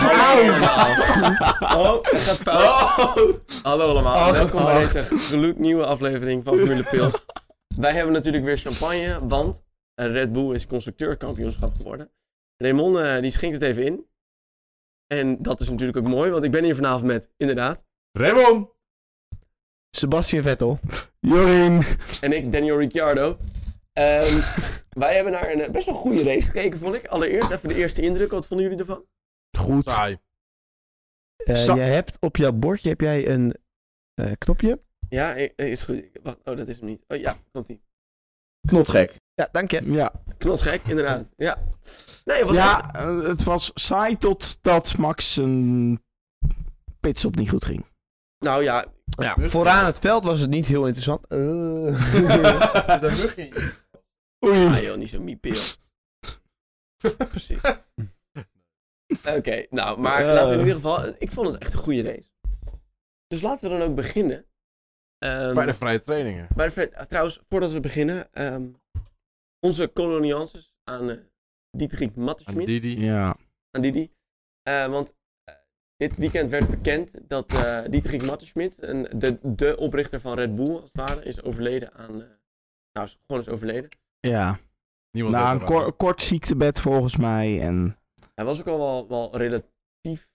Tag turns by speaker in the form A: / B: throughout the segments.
A: allemaal. Oh, het gaat fout. Hallo allemaal.
B: Acht,
A: Welkom bij
B: acht.
A: deze gloednieuwe aflevering van Formule Pils. Wij hebben natuurlijk weer champagne, want Red Bull is constructeurkampioenschap geworden. Raymond, eh, die schenkt het even in. En dat is natuurlijk ook mooi, want ik ben hier vanavond met, inderdaad.
C: Raymond!
B: Sebastian Vettel.
C: Jorin!
A: En ik, Daniel Ricciardo. Ehm, wij hebben naar een eh, best wel goede race gekeken, vond ik. Allereerst even de eerste indruk. Wat vonden jullie ervan?
C: Goed.
D: Saai.
B: Eh,
C: Sa-
B: je hebt op jouw bordje heb jij een eh, knopje.
A: Ja, eh, eh, is goed. Wacht, oh, dat is hem niet. Oh ja, komt ie.
E: Knotgek.
B: Ja, dank je.
C: Ja,
A: Knotsgek, inderdaad. Ja. Nee, het was echt...
C: ja eh, het was saai totdat Max zijn pitstop niet goed ging.
A: Nou ja,
C: Ja.
B: Vooraan het veld was het niet heel interessant. Eh.
A: ah,
C: Oei.
A: joh, niet zo miepeel. Precies. Oké, nou, maar
C: Eh.
A: laten we in ieder geval... Ik vond het echt een goede race. Dus laten we dan ook beginnen. Ehm,
D: Bij de vrije trainingen.
A: bij de Fred- trouwens, voordat we beginnen... ehm, onze koloniances aan eh Dietrich
D: En
A: Matteschmidt.
D: Didi.
C: Ja.
A: aan Didi. Eh, want eh, dit weekend werd bekend dat eh Dietrich Matteschmidt, een- de, de oprichter van Red Bull als het ware, is overleden aan... eh, nou, is- gewoon is overleden.
C: Ja.
D: Niemand
C: Na Nou, een
D: weet waar.
C: kor- kort ziektebed volgens mij. En
A: Hij was ook al wel, wel relatief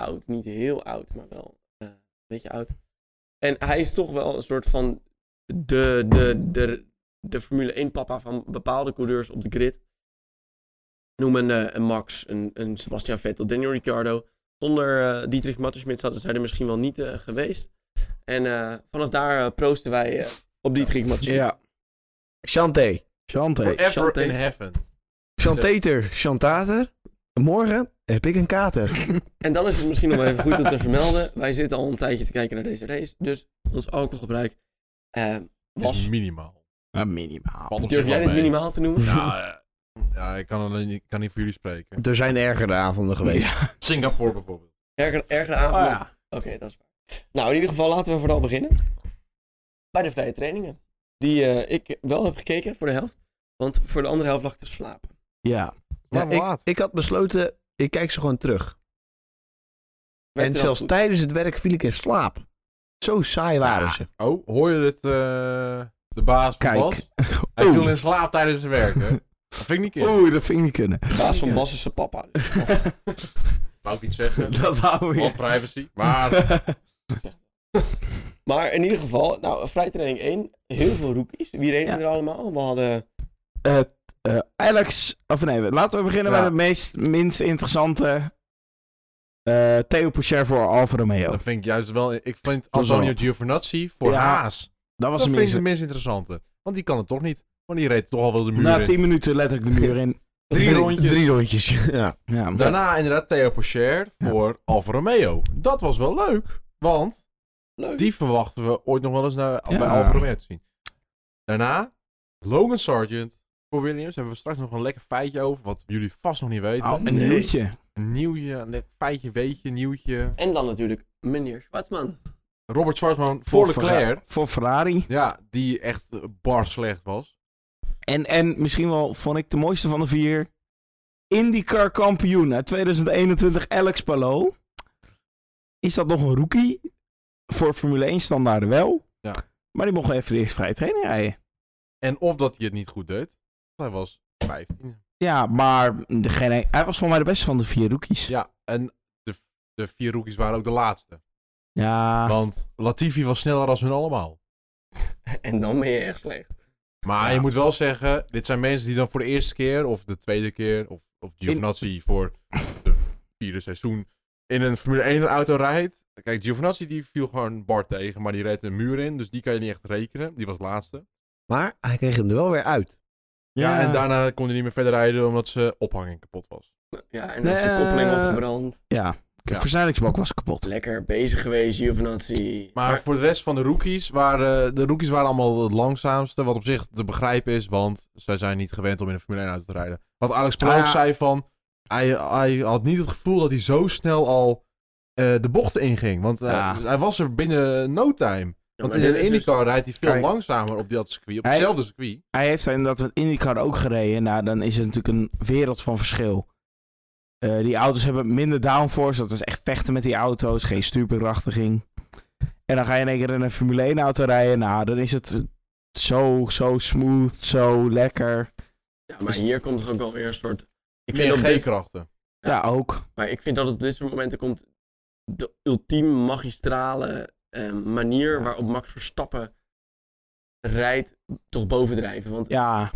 A: oud. Niet heel oud, maar wel eh, een beetje oud. En hij is toch wel een soort van de, de, de, de Formule 1 papa van bepaalde coureurs op de grid. Noem een, eh, een Max, een, een Sebastian Vettel, Daniel Ricciardo. Zonder eh, Dietrich Mattersmith zouden zij er misschien wel niet eh, geweest. En eh, vanaf daar eh, proosten wij eh, op Dietrich Mattersmith.
C: Ja.
B: Chanté.
C: Chante.
D: Forever
A: Chante.
D: in heaven.
B: Chantater, chantater. Morgen heb ik een kater.
A: En dan is het misschien nog wel even goed om te vermelden. Wij zitten al een tijdje te kijken naar deze race. Dus ons alcoholgebruik eh,
D: Is
A: was...
D: minimaal.
C: Ah, minimaal.
D: Valt op
A: Durf
D: zich
A: jij
D: wel
A: dit
D: mee.
A: minimaal te
C: Nou,
A: noemen?
D: Ja, eh, ja ik kan, alleen niet, kan niet voor jullie spreken.
B: Er zijn ergere avonden geweest.
D: Singapore bijvoorbeeld.
A: Erger, ergere
C: Oh,
A: avond.
C: ja.
A: Oké, dat is waar. Nou, in ieder geval laten we vooral beginnen. Bij de vrije trainingen. Die eh, ik wel heb gekeken voor de helft. Want voor de andere helft lag ik te slapen.
C: ja.
B: Ja,
D: Waarom
B: ik,
D: laat?
B: ik had besloten, ik kijk ze gewoon terug.
A: Werkte
B: en
A: dat
B: zelfs
A: goed?
B: tijdens het werk viel ik in slaap. Zo saai waren
C: Ja.
B: ze.
D: Oh, hoor je dit? eh, de baas van
C: Kijk.
D: Bas? Hij
C: Oeh.
D: viel in slaap tijdens zijn werk, hè? Dat vind ik niet keer.
C: Oeh, dat vind ik niet kunnen.
A: De baas van Bas is zijn papa. Dus
D: Wou ik iets zeggen.
C: dat hou
D: Wat
C: ik.
D: privacy. Maar
A: maar in ieder geval, nou, vrije training 1. Heel veel rookies. Wie reden
C: Ja.
A: er allemaal? We hadden...
C: Eh, eh, Alex, of nee, laten we beginnen
D: Ja.
C: met het meest, minst interessante. Eh, Theo Pocher voor Alfa Romeo.
D: dat vind ik juist wel... Ik vind
C: wel.
D: Antonio Giovinazzi voor
C: Ja,
D: Haas.
C: Dat was
D: Dat
C: een
D: vind ik
C: minst.
D: de minst interessante. Want die kan het toch niet. Want die reed toch al wel de muur
C: Na
D: in.
C: tien minuten letterlijk de muur in.
D: Drie
B: Drie-
D: rondjes.
B: Drie rondjes, ja.
C: Ja,
D: Daarna inderdaad Theo Pocher
C: Ja.
D: voor Alfa Romeo. Dat was wel leuk. Want
A: Leuk.
D: die verwachten we ooit nog wel eens naar,
C: Ja.
D: bij Alfa Romeo te zien. Daarna Logan Sargent voor Williams. Hebben we straks nog een lekker feitje over. Wat jullie vast nog niet weten.
C: Oh, een
A: Nee.
C: nieuwtje.
D: Een nieuwtje, een lekker feitje, weetje, nieuwtje.
A: En dan natuurlijk meneer Schwartzman.
D: Robert Schwarzman voor
C: Ferra-
D: Leclerc.
C: Voor Ferrari.
D: Ja, die echt eh, bar slecht was.
C: En, en misschien wel, vond ik de mooiste van de vier. IndyCar kampioen uit 2021, Alex Palou. Is dat nog een rookie? Voor Formule 1 standaarden wel.
D: Ja.
C: Maar die mocht even de eerste vrije training rijden.
D: En of dat hij het niet goed deed. Want hij was 15.
C: Ja, maar degene, hij was voor mij de beste van de vier rookies.
D: Ja, en de, de vier rookies waren ook de laatste.
C: Ja.
D: Want Latifi was sneller dan hun allemaal.
A: En dan ben je erg slecht.
D: Maar
C: Ja.
D: je moet wel zeggen, dit zijn mensen die dan voor de eerste keer of de tweede keer of, of Giovinazzi voor de vierde seizoen in een Formule 1 auto rijdt. Kijk, Giovinazzi die viel gewoon Bart tegen, maar die reed een muur in, dus die kan je niet echt rekenen. Die was laatste.
B: Maar hij kreeg hem er wel weer uit.
D: Ja, en daarna kon hij niet meer verder rijden omdat zijn ophanging kapot was.
A: Ja, en dan is de
C: Nee.
A: koppeling
D: Eh.
A: opgebrand.
C: Ja. De
D: Ja.
C: versnellingsbak was kapot.
A: Lekker bezig geweest, Giovinazzi.
D: Maar, voor de rest van de rookies waren de rookies waren allemaal het langzaamste. Wat op zich te begrijpen is, want zij zijn niet gewend om in een Formule 1 auto te rijden. Wat Alex Palou
C: Ah,
D: ook
C: ja.
D: zei van, hij, hij had niet het gevoel dat hij zo snel al eh, de bochten inging. Want eh,
C: Ja.
D: hij was er binnen no time.
A: Ja,
D: Want
A: maar
D: in
A: dit
D: een
A: is dus-
D: IndyCar rijdt hij veel
C: Kijk.
D: langzamer op dat circuit, op
C: Hij-
D: hetzelfde circuit.
C: Hij heeft inderdaad met IndyCar ook gereden. Nou, dan is er natuurlijk een wereld van verschil. Eh, die auto's hebben minder downforce. Dat is echt vechten met die auto's. Geen stuurbekrachtiging. En dan ga je in één keer in een Formule 1 auto rijden. Nou, dan is het zo, zo smooth, zo lekker.
A: Ja, maar hier komt toch ook wel weer een soort... Ik vind,
D: Meer
A: op dit,
D: G-krachten.
A: Ja.
C: Ja, ook.
A: maar ik vind dat het op dit soort momenten komt de ultieme magistrale eh, manier waarop Max Verstappen rijdt toch bovendrijven. Want
C: Ja,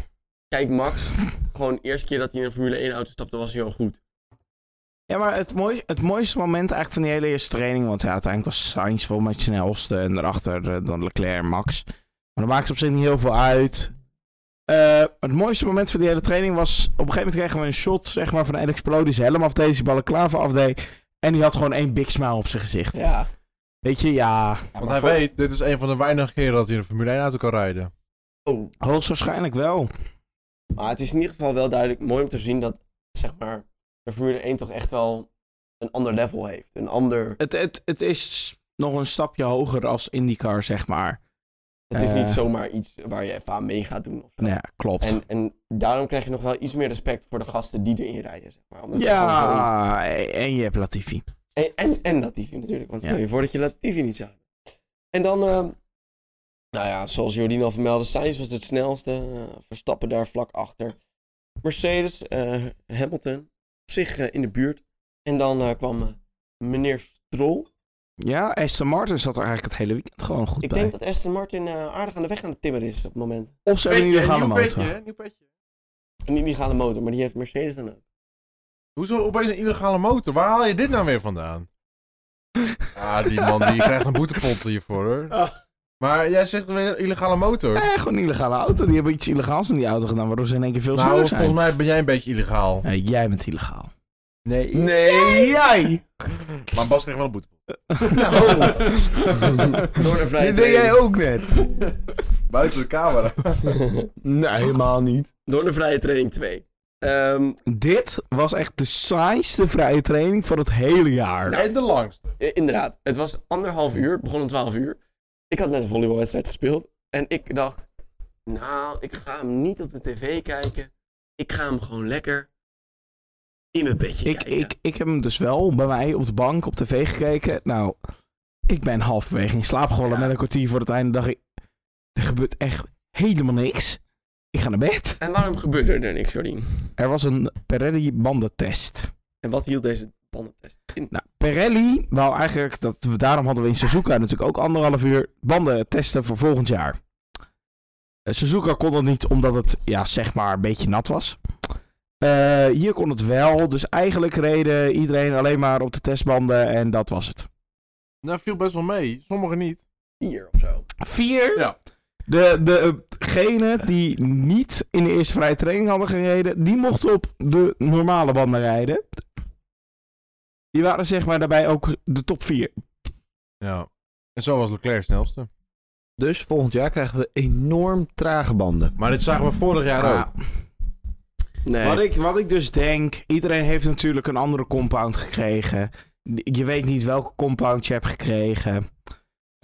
A: kijk, Max, gewoon de eerste keer dat hij in een Formule 1 auto stapte was hij al goed.
C: ja maar het, mooi, het mooiste moment eigenlijk van die hele eerste training. Want ja, uiteindelijk was Sainz volgens mij het snelste. En daarachter eh, dan Leclerc en Max. Maar dat maakt op zich niet heel veel uit. Eh, het mooiste moment van die hele training was... Op een gegeven moment kregen we een shot zeg maar, van Alex Palou. Die zijn helm afdeed, die balaclava afdeed. En die had gewoon één big smile op zijn gezicht.
A: Ja.
C: Weet je, ja...
D: Want hij weet, dit is een van de weinige keren dat hij in een Formule 1 auto kan rijden.
A: Oh,
C: Hoogstwaarschijnlijk wel.
A: Maar het is in ieder geval wel duidelijk mooi om te zien dat, zeg maar, de Formule 1 toch echt wel een ander level heeft. Een ander...
C: Het, het, het is nog een stapje hoger als IndyCar, zeg maar.
A: Het is
C: Eh.
A: niet zomaar iets waar je even aan mee gaat doen. Of zo.
C: Ja, klopt.
A: En, en daarom krijg je nog wel iets meer respect voor de gasten die erin rijden, zeg maar. Omdat ze gewoon zo-
C: ja, en je hebt Latifi.
A: En, en, en Latifi natuurlijk, want stel
C: Ja.
A: je voor dat je Latifi niet zou hebben. En dan, ehm, nou ja, zoals Jordien al vermeldde, Sainz was het snelste. eh, Verstappen daar vlak achter. Mercedes, eh, Hamilton, op zich eh, in de buurt. En dan eh, kwam eh, meneer Stroll.
C: Ja, Aston Martin zat er eigenlijk het hele weekend gewoon goed
A: Ik
C: bij.
A: denk dat Aston Martin eh, aardig aan de weg aan het timmeren is op het moment.
C: Of ze hebben een illegale motor.
D: nieuw petje.
A: Een illegale motor, maar die heeft Mercedes dan ook.
D: Hoezo opeens een illegale motor? Waar haal je dit nou weer vandaan? Ah, die man die krijgt een boetepot hiervoor hoor. Maar jij zegt weer illegale motor.
C: Nee, gewoon een illegale auto. Die hebben iets illegaals in die auto gedaan, waardoor ze in één keer veel sneller
D: Nou,
C: zijn.
D: volgens mij ben jij een beetje illegaal.
C: Nee, jij bent illegaal.
D: Nee.
C: Nee, jij!
D: Maar Bas kreeg wel een boetepot. Nou.
A: Door de vrije
B: Dit deed jij
A: training.
B: ook net.
D: Buiten de camera.
B: Nee, helemaal niet.
A: Door de vrije training 2. Ehm,
C: Dit was echt de saaiste vrije training van het hele jaar.
D: En de langste.
A: I- Inderdaad, het was anderhalf uur, het begon om 12 uur. Ik had net een volleybalwedstrijd gespeeld en ik dacht, nou, ik ga hem niet op de tv kijken. Ik ga hem gewoon lekker in mijn bedje
C: Ik,
A: kijken.
C: ik, ik heb hem dus wel bij mij op de bank op tv gekeken. Nou, ik ben halverwege in slaap gevallen
A: Ja.
C: met een kwartier voor het einde. dacht ik, er gebeurt echt helemaal niks. Ik ga naar bed.
A: En waarom gebeurde er niks, Jordien?
C: Er was een Pirelli bandentest.
A: En wat hield deze bandentest in?
C: Nou, Pirelli wou eigenlijk, dat, we- daarom hadden we in Suzuka natuurlijk ook anderhalf uur banden testen voor volgend jaar. Eh, Suzuka kon dat niet omdat het, ja, zeg maar, een beetje nat was. Eh, hier kon het wel, dus eigenlijk reden iedereen alleen maar op de testbanden en dat was het.
D: Nou, viel best wel mee. Sommigen niet.
A: Vier of zo.
C: Vier.
D: Ja.
C: De, de, degenen die niet in de eerste vrije training hadden gereden, die mochten op de normale banden rijden. Die waren zeg maar daarbij ook de top vier.
D: Ja. En zo was Leclerc snelste.
B: Dus volgend jaar krijgen we enorm trage banden.
D: Maar dit zagen we vorig jaar ook.
A: Nee.
C: Wat, ik, wat ik dus denk, iedereen heeft natuurlijk een andere compound gekregen. Je weet niet welke compound je hebt gekregen.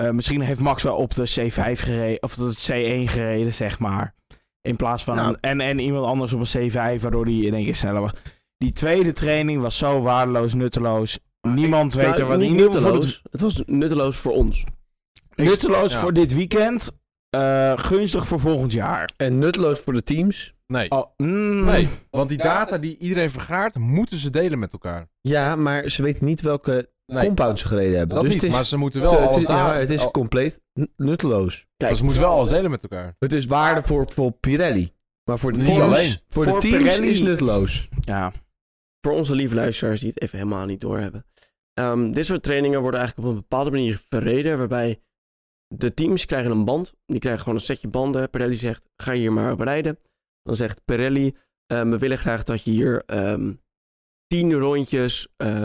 C: Eh, misschien heeft Max wel op de C5 gereden, of de C1 gereden, zeg maar. In plaats van
A: Nou.
C: een- en, en iemand anders op een C5, waardoor die in één keer sneller was. Die tweede training was zo waardeloos, nutteloos. Niemand weet er wat
A: niet
C: in ieder geval voor het-
A: nutteloos. Het was nutteloos voor ons.
C: Nutteloos
D: Ja.
C: voor dit weekend, eh, gunstig voor volgend jaar.
B: En nutteloos voor de teams.
D: Nee.
C: Oh, mm.
D: Nee. Want die data die iedereen vergaart, moeten ze delen met elkaar.
B: Ja, maar ze weten niet welke
D: Nee.
B: compound ze gereden hebben.
D: Dat
B: dus
D: niet,
B: het is,
D: maar ze moeten wel
B: het- het is,
D: alles
B: ja,
D: daar- Oh.
B: maar het is
D: al-
B: compleet n- nutteloos.
A: Kijk,
D: ze Dus moeten wel alles delen met elkaar.
B: Het is waarde voor, voor Pirelli. Maar voor de
D: Niet
B: teams,
D: alleen.
B: Voor de
C: Voor
B: teams
C: Pirelli-
B: is nutteloos.
C: Ja.
A: voor onze lieve luisteraars die het even helemaal niet doorhebben. Ehm dit soort trainingen worden eigenlijk op een bepaalde manier verreden, waarbij de teams krijgen een band. Die krijgen gewoon een setje banden. Pirelli zegt, ga hier maar op rijden. Dan zegt Pirelli, ehm, we willen graag dat je hier ehm tien rondjes eh,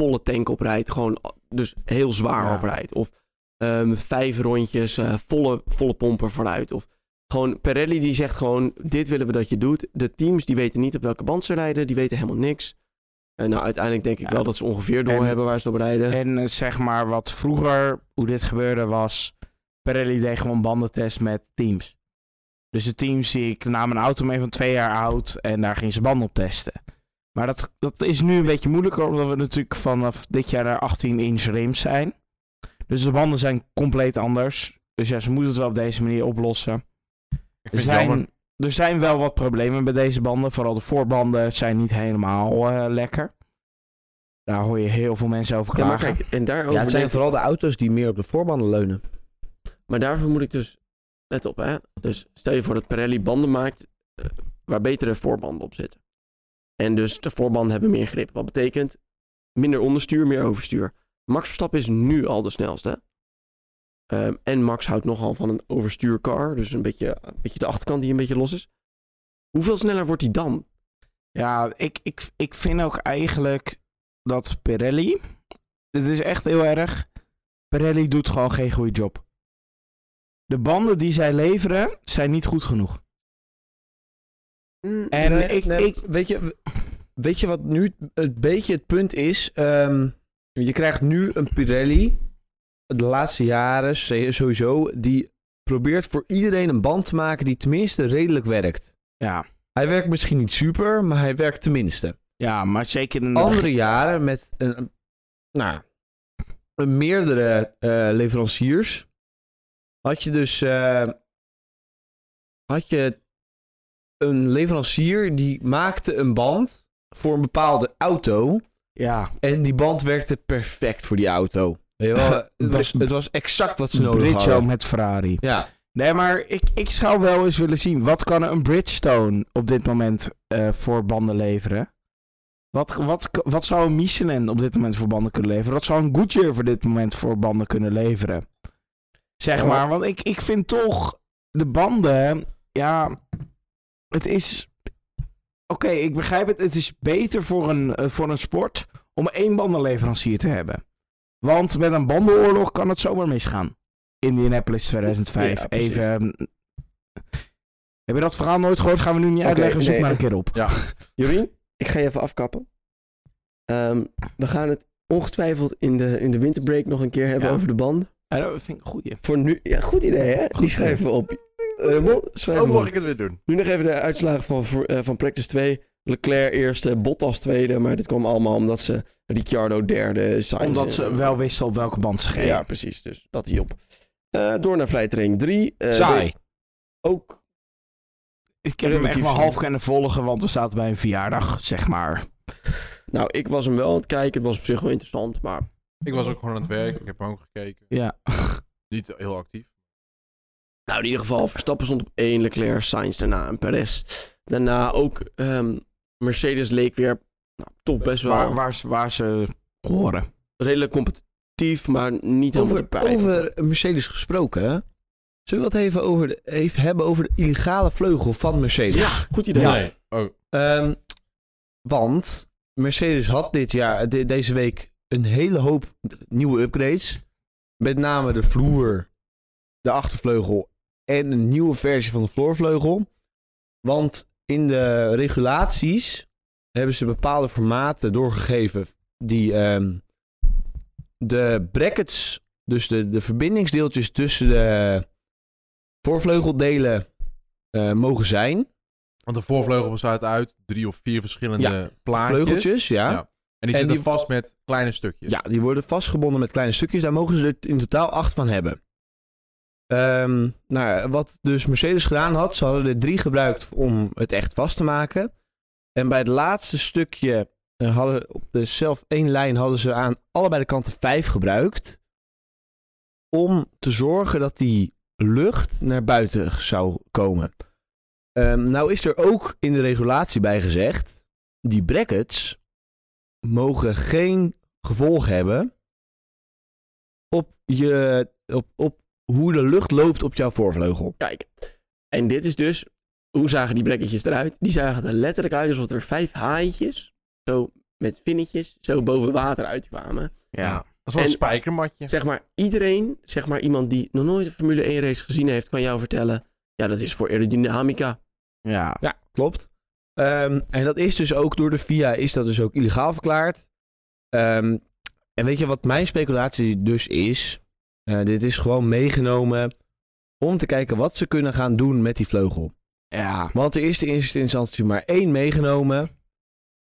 A: volle tank op rijdt. Gewoon a- dus heel zwaar
C: Ja.
A: op rijdt. Of ehm, vijf rondjes eh, volle, volle pompen vooruit. Of gewoon Pirelli die zegt gewoon, dit willen we dat je doet. De teams die weten niet op welke band ze rijden. Die weten helemaal niks. En nou, uiteindelijk denk ik
C: Ja.
A: wel dat ze ongeveer
C: En-
A: doorhebben waar ze op rijden.
C: En eh, zeg maar wat vroeger, hoe dit gebeurde was, Pirelli deed gewoon bandentest met teams. Dus de teams die ik nam een auto mee van twee jaar oud en daar gingen ze banden op testen. Maar dat, dat is nu een beetje moeilijker, omdat we natuurlijk vanaf dit jaar naar 18 inch rims zijn. Dus de banden zijn compleet anders. Dus ja, ze moeten het wel op deze manier oplossen.
D: Ik
C: Er
D: vind het jammer.
C: zijn, er zijn wel wat problemen bij deze banden. Vooral de voorbanden zijn niet helemaal eh, lekker. Daar hoor je heel veel mensen over
A: Ja, maar
C: klagen.
A: kijk, en daarover
B: Ja, het zijn
A: denk-
B: vooral de auto's die meer op de voorbanden leunen.
A: Maar daarvoor moet ik dus, let op hè. Dus stel je voor dat Pirelli banden maakt eh, waar betere voorbanden op zitten. En dus de voorbanden hebben meer grip. Wat betekent minder onderstuur, meer overstuur. Max Verstappen is nu al de snelste. hè. Ehm, en Max houdt nogal van een overstuurcar. Dus een beetje, een beetje de achterkant die een beetje los is. Hoeveel sneller wordt hij dan?
C: Ja, ik, ik, ik vind ook eigenlijk dat Pirelli. Dit is echt heel erg. Pirelli doet gewoon geen goede job. De banden die zij leveren zijn niet goed genoeg.
A: Mm.
C: En ik- ik-
B: weet, je, weet je wat nu een beetje het punt is? Ehm, je krijgt nu een Pirelli, de laatste jaren se- sowieso, die probeert voor iedereen een band te maken die tenminste redelijk werkt.
C: Ja,
B: Hij werkt misschien niet super, maar hij werkt tenminste.
C: ja maar zeker in de begin-
B: Andere jaren met een, een- nou, een meerdere eh, leveranciers had je dus eh, had je een leverancier die maakte een band voor een bepaalde auto
C: Ja,
B: en die band werkte perfect voor die auto. Weet je wel, het, was, het was exact wat ze nodig
C: Bridgestone
B: hadden.
C: met Ferrari.
B: Ja,
C: Nee, maar ik, ik zou wel eens willen zien. Wat kan een Bridgestone op dit moment eh, voor banden leveren? Wat, wat, wat zou een Michelin op dit moment voor banden kunnen leveren? Wat zou een Goodyear voor dit moment voor banden kunnen leveren? Zeg
A: Ja, maar-
C: maar, want ik, ik vind toch de banden. Ja, het is. Oké, ik begrijp het. Het is beter voor een, eh, voor een sport om één bandenleverancier te hebben. Want met een bandenoorlog kan het zomaar misgaan. Indianapolis 2005.
A: Ja, precies.
C: Even. mm. Heb je dat verhaal nooit gehoord? Gaan we nu niet uitleggen. Zoek
A: nee.
C: maar een keer op.
A: Jorien, ik ga je even afkappen. Ehm, we gaan het ongetwijfeld in de, in de winterbreak nog een keer hebben
C: Ja.
A: over de banden.
C: Ja, dat vind ik een goeie.
A: Voor nu, ja, goed idee hè? Die
C: Goed
A: schrijven we op. Eh, Raymond, schrijf
D: Oh,
A: hem op.
D: mag ik het weer doen?
A: Nu nog even de uitslagen van, voor- eh, van Practice 2. Leclerc eerste, Bottas tweede. Maar dit kwam allemaal omdat ze Ricciardo derde, Sainz...
C: Omdat
A: eh,
C: ze wel wisten op welke band ze gingen.
A: Ja, precies. Dus dat hielp. Eh door naar Vlijtering 3. eh,
C: Saai.
A: de- Ook...
C: Ik heb hem echt
A: Relatief
C: maar
A: saai.
C: half kunnen volgen, want we zaten bij een verjaardag, zeg maar.
A: Nou, ik was hem wel aan het kijken. Het was op zich wel interessant, maar...
D: Ik was ook gewoon aan het werk. Ik heb ook gekeken.
C: Ja.
D: Niet heel actief.
A: Nou, in ieder geval, Verstappen stond op 1, Leclerc, Sainz daarna en Perez. Daarna ook ehm, Mercedes leek weer nou, toch best wel
C: Waar, waar, ze- waar ze horen.
A: redelijk competitief, maar niet helemaal
B: over,
A: erbij.
B: over Mercedes gesproken. hè? Zullen we het even, over de- even hebben over de illegale vleugel van Mercedes?
A: Ja, goed idee.
D: Nee. Oh,
B: Ehm, want Mercedes had dit jaar, de- deze week, een hele hoop nieuwe upgrades. Met name de vloer, de achtervleugel en een nieuwe versie van de floorvleugel. Want in de regulaties hebben ze bepaalde formaten doorgegeven die ehm, de brackets, dus de, de verbindingsdeeltjes tussen de voorvleugeldelen eh, mogen zijn.
D: want de voorvleugel bestaat uit drie of vier verschillende plaatjes.
B: Vleugeltjes, ja.
D: Ja. En die
B: En
D: zitten
B: die-
D: vast met kleine stukjes.
B: Ja, die worden vastgebonden met kleine stukjes. Daar mogen ze er in totaal acht van hebben. Ehm, nou, ja, wat dus Mercedes gedaan had, ze hadden er drie gebruikt om het echt vast te maken. En bij het laatste stukje eh, hadden op de zelf één lijn hadden ze aan allebei de kanten vijf gebruikt. Om te zorgen dat die lucht naar buiten zou komen. Ehm, nou is er ook in de regulatie bij gezegd, die brackets mogen geen gevolg hebben op, je, op, op hoe de lucht loopt op jouw voorvleugel.
A: Kijk, en dit is dus... Hoe zagen die brekketjes eruit? Die zagen er letterlijk uit alsof er vijf haaientjes, zo met vinnetjes, zo boven water uitkwamen.
C: Ja.
D: Een soort
A: En-
D: spijkermatje.
A: Zeg maar, iedereen, zeg maar iemand die nog nooit een Formule 1 race gezien heeft, kan jou vertellen... Ja, dat is voor aerodynamica.
C: Ja.
B: Ja, klopt. Ehm, en dat is dus ook door de FIA is dat dus ook illegaal verklaard. Ehm, en weet je wat mijn speculatie dus is? Eh, dit is gewoon meegenomen om te kijken wat ze kunnen gaan doen met die vleugel.
C: Ja.
B: Want er is in eerste instantie maar één meegenomen.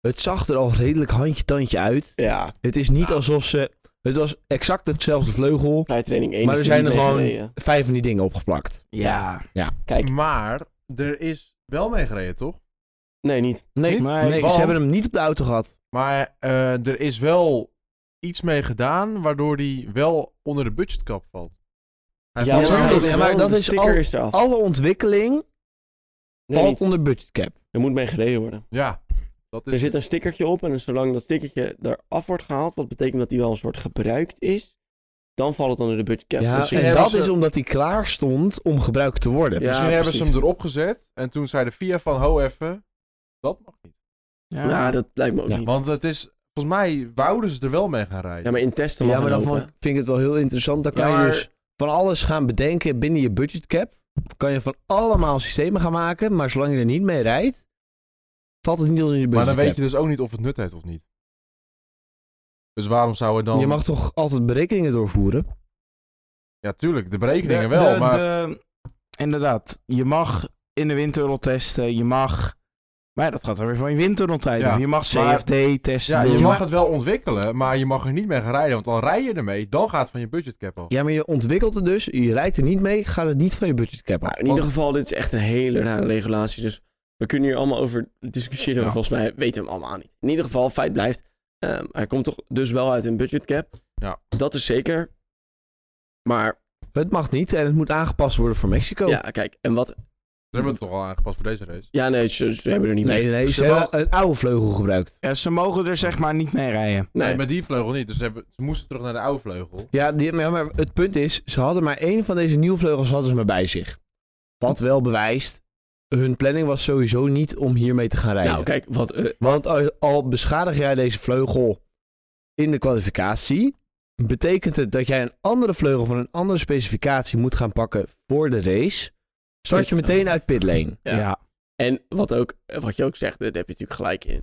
B: Het zag er al redelijk handje-tandje uit.
A: Ja,
B: Het is niet alsof ze... Het was exact hetzelfde vleugel.
A: vrijtraining 1
B: Maar
A: is
B: er zijn
A: niet
B: er gewoon-
A: meegereden.
B: Vijf van die dingen opgeplakt.
C: Ja.
A: Kijk,
D: Maar er is wel mee gereden, toch?
A: nee, niet.
B: Nee,
C: Niet?
B: nee
D: Want-
B: ze hebben hem niet op de auto gehad.
D: Maar eh, er is wel iets mee gedaan waardoor die wel onder de budgetkap valt. Hij
A: Ja,
D: valt
B: maar-
D: zo-
B: dat is-
A: ja,
B: maar dat
A: de
B: is
A: sticker
B: al-
A: is eraf.
B: Alle ontwikkeling
A: Nee,
B: valt
A: niet.
B: onder budgetcap.
A: Er moet mee gereden worden.
D: ja, dat
A: Er
B: Dus
D: is
A: zit een stickertje op en zolang dat stickertje eraf wordt gehaald, wat betekent dat die wel een soort gebruikt is, dan valt het onder de budgetcap.
B: Ja,
A: Dus
D: misschien
B: en
D: hebben
B: dat
D: ze-
B: is omdat hij klaar stond om gebruikt te worden.
A: Ja,
D: Misschien hebben ze
A: precies.
D: hem erop gezet en toen zei de FIA van ho even, dat mag niet.
C: Ja.
A: Nou, dat lijkt me ook
B: Ja,
A: niet.
D: Want het is, volgens mij wouden ze er wel mee gaan rijden.
A: Ja, maar in testen mag
B: Ja, maar dan
A: het
B: vond-
A: ook, hè.
B: vind ik het wel heel interessant. Dan kan
D: Ja, maar-
B: je dus van alles gaan bedenken binnen je budgetcap. Kan je van allemaal systemen gaan maken, maar zolang je er niet mee rijdt, valt het niet onder je
D: Maar
B: budgetcap.
D: dan weet je dus ook niet of het nut heeft of niet. Dus waarom zou er dan...
B: Je mag toch altijd berekeningen doorvoeren?
D: Ja, tuurlijk, de berekeningen
C: De-
D: wel,
C: de-
D: maar...
C: de- inderdaad, je mag in de windtunnel testen, je mag... Maar dat gaat dan weer van je windtunnel tijd.
D: Ja,
C: Of je mag
D: maar-
C: CFD testen.
D: Ja,
C: doen.
D: je mag het wel ontwikkelen, maar je mag er niet mee gaan rijden. Want al rij je ermee, dan gaat het van je budgetcap af.
B: Ja, maar je ontwikkelt het dus, je rijdt er niet mee, gaat het niet van je budgetcap af.
A: Maar Nou, in ieder geval, dit is echt een hele rare regulatie. Dus we kunnen hier allemaal over discussiëren.
D: Ja.
A: Maar volgens mij weten we hem allemaal niet. In ieder geval, feit blijft. ehm, hij komt toch dus wel uit een budgetcap.
D: Ja.
A: Dat is zeker. Maar
B: Het mag niet en het moet aangepast worden voor Mexico.
A: ja, kijk. En wat...
D: Ze hebben het toch al aangepast voor deze race.
A: Ja, nee, ze, ze hebben er niet
B: Nee,
A: mee.
B: nee, nee, ze
C: Ze
B: hebben een oude vleugel gebruikt.
C: Ja, ze mogen er zeg maar niet mee rijden.
D: Nee,
A: Nee,
D: met die vleugel niet. Dus ze, hebben, ze moesten terug naar de oude vleugel.
B: Ja, die, maar maar het punt is, ze hadden maar één van deze nieuwe vleugels hadden ze maar bij zich. Wat wel bewijst, hun planning was sowieso niet om hiermee te gaan rijden.
A: nou, kijk. Wat, eh,
B: Want al- al beschadig jij deze vleugel in de kwalificatie, betekent het dat jij een andere vleugel van een andere specificatie moet gaan pakken voor de race. Start je
A: Dit-
B: meteen uit pitlane.
A: Ja. en wat, ook, eh, wat je ook zegt, daar heb je natuurlijk gelijk in.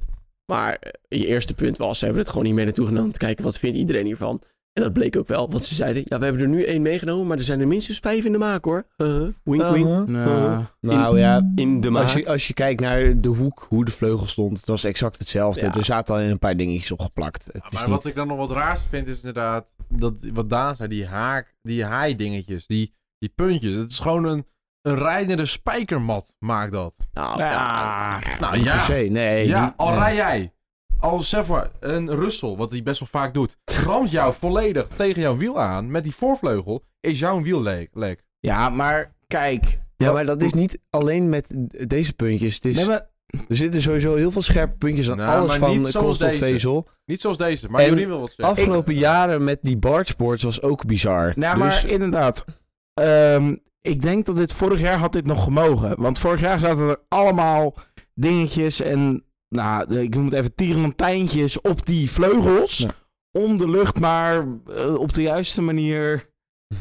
A: Maar eh, je eerste punt was, ze hebben het gewoon niet mee naartoe genomen. Te kijken, wat vindt iedereen hiervan? En dat bleek ook wel. Want ze zeiden, ja, we hebben er nu één meegenomen. Maar er zijn er minstens vijf in de maak, hoor. Huh? wink, wink.
B: Uh-huh.
C: Nou,
B: Nou ja,
A: In de maak.
B: als je, als je kijkt naar de hoek, hoe de vleugel stond, het was exact hetzelfde.
A: Ja.
B: Er zaten alleen een paar dingetjes opgeplakt. Het is
D: maar
B: niet-
D: wat ik dan nog wat raarst vind, is inderdaad... Dat, wat Daan zei, die haak, die haai-dingetjes, die, die puntjes. Het is gewoon een, een rijdende spijkermat, maakt dat.
A: Nou,
C: Ja.
D: Nou
B: Ah, per
D: ja,
B: se, nee.
D: ja
B: niet-
D: al
B: nee.
D: rij jij. Al Sefa, een Russel, wat hij best wel vaak doet, ramt jou volledig tegen jouw wiel aan met die voorvleugel, is jouw wiel le- lek.
C: ja, maar kijk.
B: Ja, maar dat is niet alleen met deze puntjes. Het is,
C: Nee, maar-
B: Er zitten sowieso heel veel scherpe puntjes aan
D: Nou,
B: alles
D: maar
B: van
D: niet
B: eh,
D: zoals deze.
B: koolstofvezel.
D: Niet zoals deze, maar
B: En
D: Jorien wil wat zeggen.
B: Afgelopen jaren met die bargeboards was ook bizar.
C: nou, maar
B: Dus-
C: inderdaad. Ehm, ik denk dat dit vorig jaar had dit nog gemogen. Want vorig jaar zaten er allemaal dingetjes en, nou, ik noem het even tierlantijntjes op die vleugels.
B: Ja.
C: Om de lucht maar eh, op de juiste manier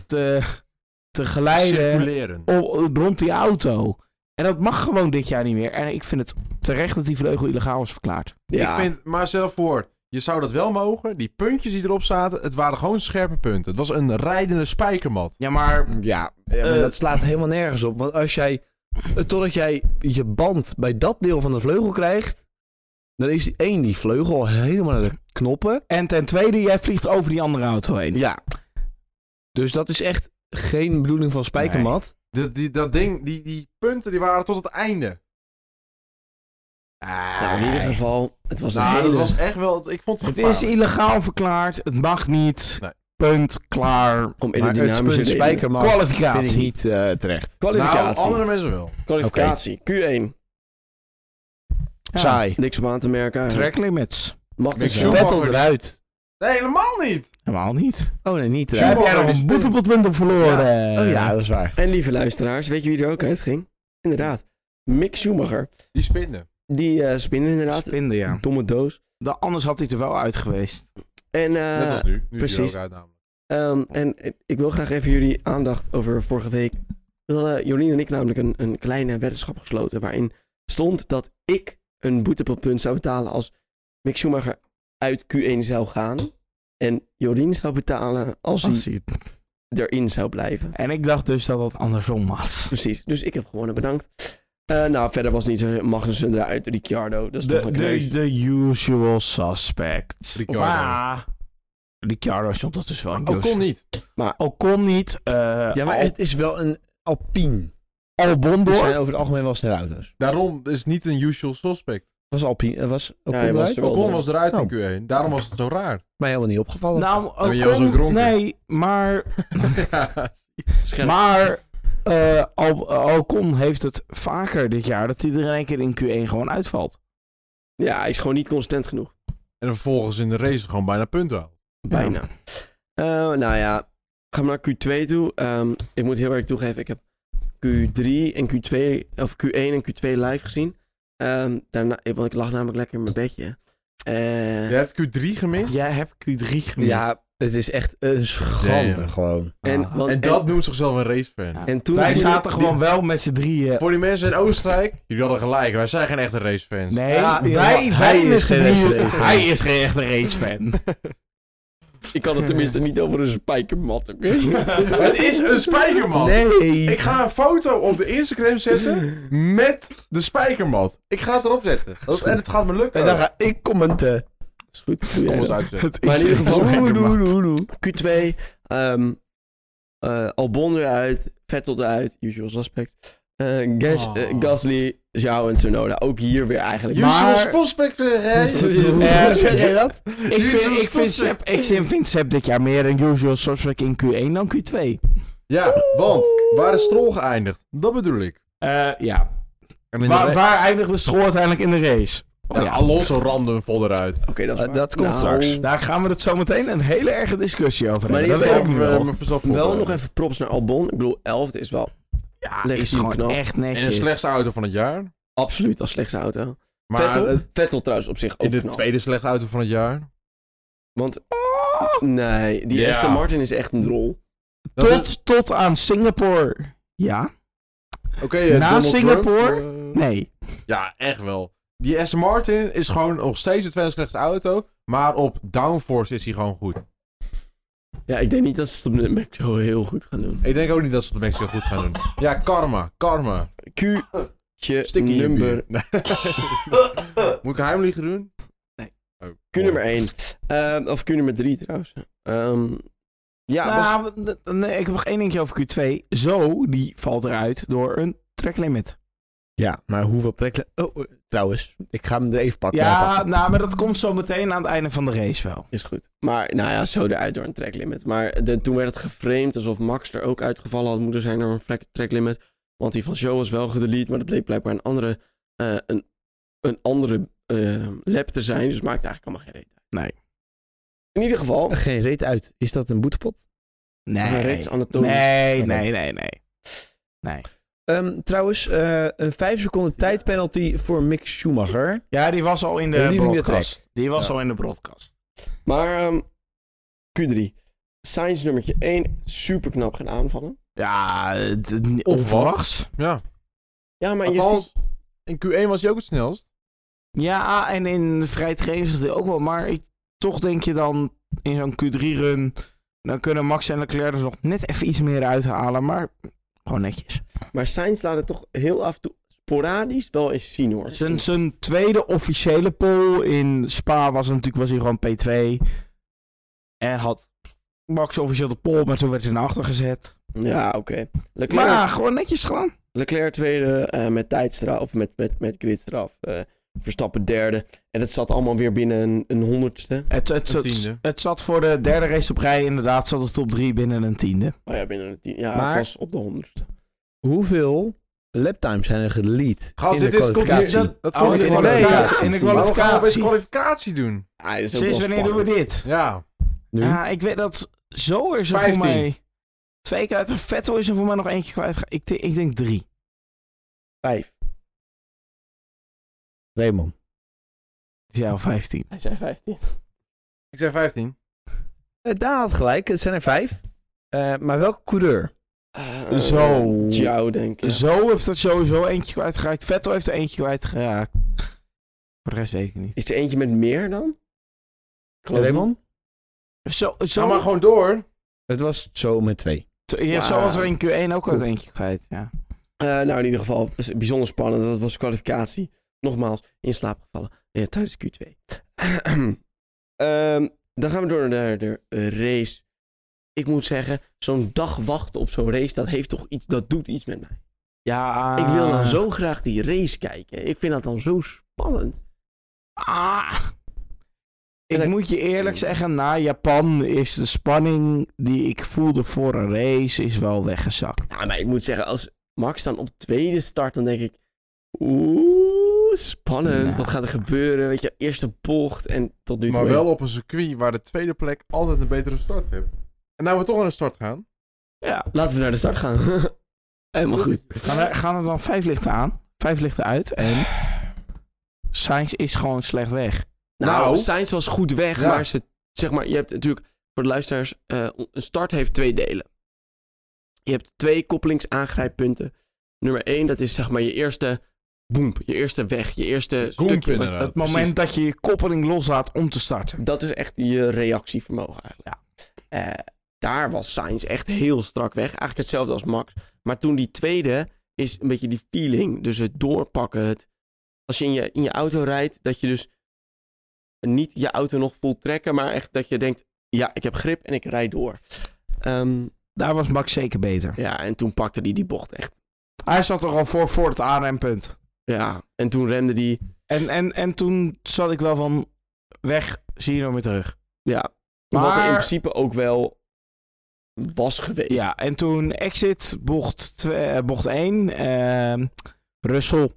C: te, te geleiden.
D: Circuleren.
C: op- rond die auto. En dat mag gewoon dit jaar niet meer. En ik vind het terecht dat die vleugel illegaal is verklaard.
A: Ja.
D: Ik vind, maar stel voor, je zou dat wel mogen. Die puntjes die erop zaten, het waren gewoon scherpe punten. Het was een rijdende spijkermat.
C: Ja, maar
B: Ja, ja, maar
C: Eh,
B: dat slaat helemaal nergens op. Want als jij, eh, totdat jij je band bij dat deel van de vleugel krijgt, dan is die één, die vleugel al helemaal naar de knoppen.
C: En ten tweede, jij vliegt over die andere auto heen.
B: Ja. Dus dat is echt geen bedoeling van spijkermat.
D: Dat- die, dat ding, die, die punten die waren tot het einde.
A: Nou, in ieder geval, het was een
D: Nou,
A: hele...
D: dat was echt wel, ik vond het
C: Het is
D: gevaarlijk.
C: illegaal verklaard. Het mag niet.
D: Nee. Oh,
C: Punt.
A: om
C: Klaar.
B: Maar het
A: aerodynamische
B: punt
A: redenen.
B: spijkermat vind ik
C: Kwalificatie.
B: niet eh, terecht.
D: Nou,
A: Kwalificatie.
D: andere mensen wel.
A: Kwalificatie. Q1.
C: Ja.
B: Saai.
A: Niks op aan te merken.
C: Track limits.
A: Mag
D: Mick
A: dus wel.
D: Schumacher.
B: Vettel eruit.
D: Nee, helemaal niet.
C: Helemaal niet. eh,
B: Oh nee, niet
C: Heb
B: eruit.
D: Schumacher
C: jij nog
D: die
C: een
D: spin.
C: boete op het punt op verloren?
B: Oh ja, dat is waar.
A: En lieve luisteraars, weet je wie er ook uitging? Inderdaad. Mick Schumacher.
D: Die spinnen.
A: Die eh spinnen inderdaad.
C: Spinden, ja.
A: Domme doos.
C: Da- Anders had hij er wel uit geweest.
A: En,
D: Net
A: eh
D: als nu. Nu is die
A: precies.
D: ook uit namelijk.
A: ehm, en ik- ik wil graag even jullie aandacht over vorige week. We hadden Jolien en ik namelijk een, een kleine weddenschap gesloten. Waarin stond dat ik een boete per punt zou betalen als Mick Schumacher uit Q1 zou gaan. En Jorien zou betalen als hij
C: Als hij het-
A: erin zou blijven.
C: En ik dacht dus dat dat andersom was.
A: Precies. Dus ik heb gewonnen, bedankt. Eh, nou, verder was niet zo Magnussen eruit, Ricciardo. Dat is toch
C: De,
A: een
C: de,
A: kneus.
C: de usual suspects.
D: Ricciardo.
C: Maar Ricciardo is ondertussen wel een
D: Oh, kon
C: usual.
D: niet.
C: Ocon niet. eh
B: Ja, maar
C: Al-
B: het is wel een Alpine.
C: Albon
B: Het
C: door.
B: zijn over het algemeen wel snelle auto's.
D: Daarom is het niet een usual suspect.
B: Was Alpine, eh, was Ocon
A: hij was
B: eruit?
A: er wel.
D: Ocon was eruit
B: Oh.
D: in Q1. Daarom was het zo raar.
B: Mij helemaal niet opgevallen.
C: Nou,
D: ben jij wel zo
C: Ocon-
D: dronken.
C: nee, maar,
D: Ja.
A: Scherp.
C: maar eh, Al- Ocon heeft het vaker dit jaar dat hij er in één keer in Q1 gewoon uitvalt.
A: Ja, hij is gewoon niet consistent genoeg.
D: en vervolgens in de race gewoon bijna punten halen.
A: Bijna. Eh, nou ja, gaan we naar Q2 toe. Ehm, ik moet heel erg toegeven, ik heb Q3 en Q2, of Q1 en Q2 live gezien. Ehm, daarna, eh, want ik lag namelijk lekker in mijn bedje. Eh,
D: Je hebt Q3 gemist.
C: Jij hebt Q3 gemist.
B: ja, het is echt een schande
D: Ja, ja.
B: gewoon.
A: en,
C: Ah.
A: want-
D: En dat noemt zichzelf een racefan.
C: Ja.
A: en toen
C: Wij
A: begonnen-
C: zaten gewoon wel met z'n drieën.
D: Voor die mensen in Oostenrijk, jullie hadden gelijk. Wij zijn geen echte racefans.
C: Nee,
B: Ja,
C: wij,
B: ja,
C: wij
B: hij
C: met
B: is
C: z'n
B: geen echte
C: drieën.
B: racefan.
C: Hij is geen echte racefan.
A: Ik kan het tenminste niet over een spijkermat, oké?
D: Het is een spijkermat.
B: Nee!
D: Ik ga een foto op de Instagram zetten met de spijkermat. Ik ga het erop zetten. Dat- en het gaat me lukken.
B: En dan ga ik commenten.
A: Is goed.
D: Kom
A: Doe jij
D: eens
A: dat.
D: uitzetten.
C: Het
A: Maar in ieder
C: geen
A: geval-
C: spijkermat.
A: Q2, ehm, eh, Albon eruit, Vettel eruit, usual suspect. Eh, Gas-
D: Oh.
A: eh, Gasly, Zhao en Tsunoda. Ook hier weer eigenlijk.
D: Usual
C: Maar-
D: suspect, hè?
A: Eh, Hoe zeg jij dat?
C: Ik vind,
D: Usual
C: ik, vind
D: suspect.
C: Sepp, ik vind Sepp dit jaar meer een usual suspect in Q1 dan Q2.
D: Ja, want waar is Strol geëindigd? Dat bedoel ik.
C: Eh, ja.
D: En
C: Waar, waar eindigde school uiteindelijk in de race?
B: Nou,
D: Ja, Alonso ramde hem vol eruit.
A: Oké, dat is
B: Eh,
A: waar.
B: dat komt
A: Nou,
B: straks.
C: Daar gaan we het zo meteen een hele erge discussie over
A: Maar
C: hebben.
A: die
C: Dat
A: heeft
C: weet ik nu
D: eh,
C: wel.
A: Wel nog even props naar Albon. Ik bedoel, 11 is wel
C: Ja,
A: legitiem
C: is gewoon
A: knap.
C: echt
D: En
C: netjes.
D: de slechtste auto van het jaar.
A: absoluut als slechtste auto.
D: Maar
A: Vettel,
D: het-
A: Vettel trouwens op zich ook
D: in de
A: knap.
D: tweede slechtste auto van het jaar.
A: Want, nee, die
D: Ja.
A: Aston Martin is echt een drol.
D: Dat
C: tot,
D: is-
C: tot aan Singapore. Ja?
D: Oké, eh,
C: Na
D: Donald
C: Singapore?
D: Trump, eh,
C: Nee.
D: Ja, echt wel. Die Aston Martin is gewoon nog steeds de tweede slechtste auto. Maar op downforce is hij gewoon goed.
A: Ja, ik denk niet dat ze het op de Mac zo heel goed gaan doen.
D: Ik denk ook niet dat ze het op Mexico goed gaan doen. Ja, karma. Karma.
A: Q,
D: Stik in je
A: nummer
D: bier. Nee. Moet ik een heimliegen doen?
C: Nee.
D: Oh,
A: Q nummer 1. of Q nummer 3 trouwens. Ehm, ja, was,
C: Nou, d- nee, ik heb nog één dingetje over Q2. Zo, die valt eruit door een tracklimit.
B: Ja, maar hoeveel trekken... Oh, eh, trouwens, ik ga hem er even pakken.
C: Ja, nou, maar dat komt zo meteen aan het einde van de race wel.
A: is goed. Maar nou ja, zo eruit door een tracklimit. Maar de, toen werd het geframed alsof Max er ook uitgevallen had moeten zijn door een vlek- tracklimit. Want die van Joe was wel gedelete, maar dat bleek blijkbaar een andere, eh, een, een andere eh, lab te zijn. Dus het maakt eigenlijk allemaal geen reet uit.
C: Nee.
A: In ieder geval,
C: nou.
B: Geen reet uit. Is dat een boetepot?
A: een
C: Nee.
A: reeds anatomisch.
C: Nee,
B: Oké.
C: nee, nee, nee.
B: Ehm, trouwens, eh, een 5 seconden tijdpenalty voor Mick Schumacher.
C: Ja, die was al in de
B: Leaving the
C: broadcast. Die was
B: Ja.
C: al in de broadcast.
A: Maar ehm, Q3. Sainz nummertje 1, super knap gedaan van hem.
C: Ja, het- het-
D: Of
C: onverwachts.
D: Ja.
A: Ja, maar je ziet...
D: Althans, in Q1 was hij ook het snelst.
C: Ja, en in de vrij trainen zat hij ook wel. Maar ik, toch denk je dan in zo'n Q3-run... Dan kunnen Max en Leclerc er nog net even iets meer uithalen. Maar gewoon netjes.
A: Maar Sainz laat het toch heel af en toe sporadisch wel eens zien hoor.
C: Zijn, zijn tweede officiële pole in Spa was natuurlijk was hij gewoon P2. En had Max officieel de pole, maar toen werd hij naar achter gezet.
A: Ja, oké. Leclerc,
C: Maar gewoon netjes gedaan.
A: Leclerc tweede eh, met tijdstraf, of met, met, met gridstraf. eh, Verstappen derde. En dat zat allemaal weer binnen een, een honderdste.
C: Het, het,
D: Een
C: het,
D: tiende.
C: het, zat voor de derde race op rij inderdaad, zat het op drie binnen een tiende.
A: Oh ja, binnen een tien. Ja, het
B: Maar-
A: was op de honderdste.
B: Hoeveel laptimes zijn er gelead
D: Gast,
B: in de
D: dit is
B: kwalificatie?
D: continu- Dat
C: Oh,
D: komt
C: in
D: in
C: de
D: de
B: kwalificatie.
D: kwalificatie.
B: In de
D: Waarom gaan we opeens
C: kwalificatie.
D: kwalificatie doen?
A: Ah, is ook wel
C: Sinds wanneer doen we
A: spannend.
C: dit?
D: Ja.
B: Nu?
C: Ja, ik weet dat zo is er voor
D: 15.
C: mij twee keer uit. Vettel is er voor mij nog eentje kwijt. Ik, denk- ik denk drie.
A: Vijf.
B: Raymond.
C: Dus Ja, vijftien.
A: Hij zei vijftien.
D: Ik zei 15.
B: Eh, Daan had gelijk. Het zijn er vijf. Eh, maar welke coureur?
A: Eh,
C: Zo.
A: Jou, denk ik.
C: Zo heeft er sowieso eentje kwijtgeraakt. Vettel heeft er eentje kwijtgeraakt. Voor de rest weet ik het niet.
A: Is er eentje met meer dan? Ik geloof niet.
B: Raymond?
C: Zo,
D: Ga
C: zo,
D: maar gewoon door.
B: Het was zo met twee.
C: zo- ja, zo was er in Q1 ook al eentje kwijt. Ja.
A: Eh, nou, in ieder geval is het bijzonder spannend. Dat was kwalificatie. Nogmaals, in slaap gevallen eh, tijdens Q2. Ehm, dan gaan we door naar de race. Ik moet zeggen, zo'n dag wachten op zo'n race, dat heeft toch iets, dat doet iets met mij.
C: Ja.
A: Ik wil
D: Ah.
A: dan zo graag die race kijken. Ik vind dat dan zo spannend.
C: Ah. Ik
A: En-
C: moet je eerlijk zeggen, na Japan is de spanning die ik voelde voor een race is wel weggezakt.
A: Nou, maar ik moet zeggen, als Max dan op tweede start, dan denk ik... Oeh, spannend.
C: Nou.
A: Wat gaat er gebeuren? Weet je, eerste bocht en tot nu toe...
D: Maar wel op een circuit waar de tweede plek altijd een betere start heeft. En nou we toch aan de start gaan.
C: Ja.
A: Laten we naar de start gaan. Helemaal goed.
C: Gaan er, gaan er dan vijf lichten aan, vijf lichten uit en Sainz is gewoon slecht weg.
A: Nou,
D: Nou.
A: Sainz was goed weg,
D: Ja.
A: maar, ze, zeg maar je hebt natuurlijk voor de luisteraars, eh, een start heeft twee delen. Je hebt twee koppelingsaangrijppunten. Nummer één, dat is zeg maar je eerste boemp, je eerste weg, je eerste
D: Goemp
A: stukje. wat-
D: inderdaad.
C: Het
D: precies.
C: moment dat je je koppeling loslaat om te starten.
A: dat is echt je reactievermogen eigenlijk. Eh, daar was Sainz echt heel strak weg. Eigenlijk hetzelfde als Max. Maar toen die tweede is een beetje die feeling. Dus het doorpakken. Het, als je in, je in je auto rijdt, dat je dus niet je auto nog vol trekken. Maar echt dat je denkt, ja, ik heb grip en ik rijd door. Ehm,
C: Daar was Max zeker beter.
A: ja, en toen pakte hij die bocht echt.
C: Hij zat er al voor voor het aanrempunt.
A: Ja, en toen remde die.
C: En, en, en toen zat ik wel van weg, zie je nou weer terug.
A: Ja, wat er in
C: Maar-
A: principe ook wel was geweest.
C: Ja, en toen exit, bocht, twee, eh, bocht 1, ehm Russell.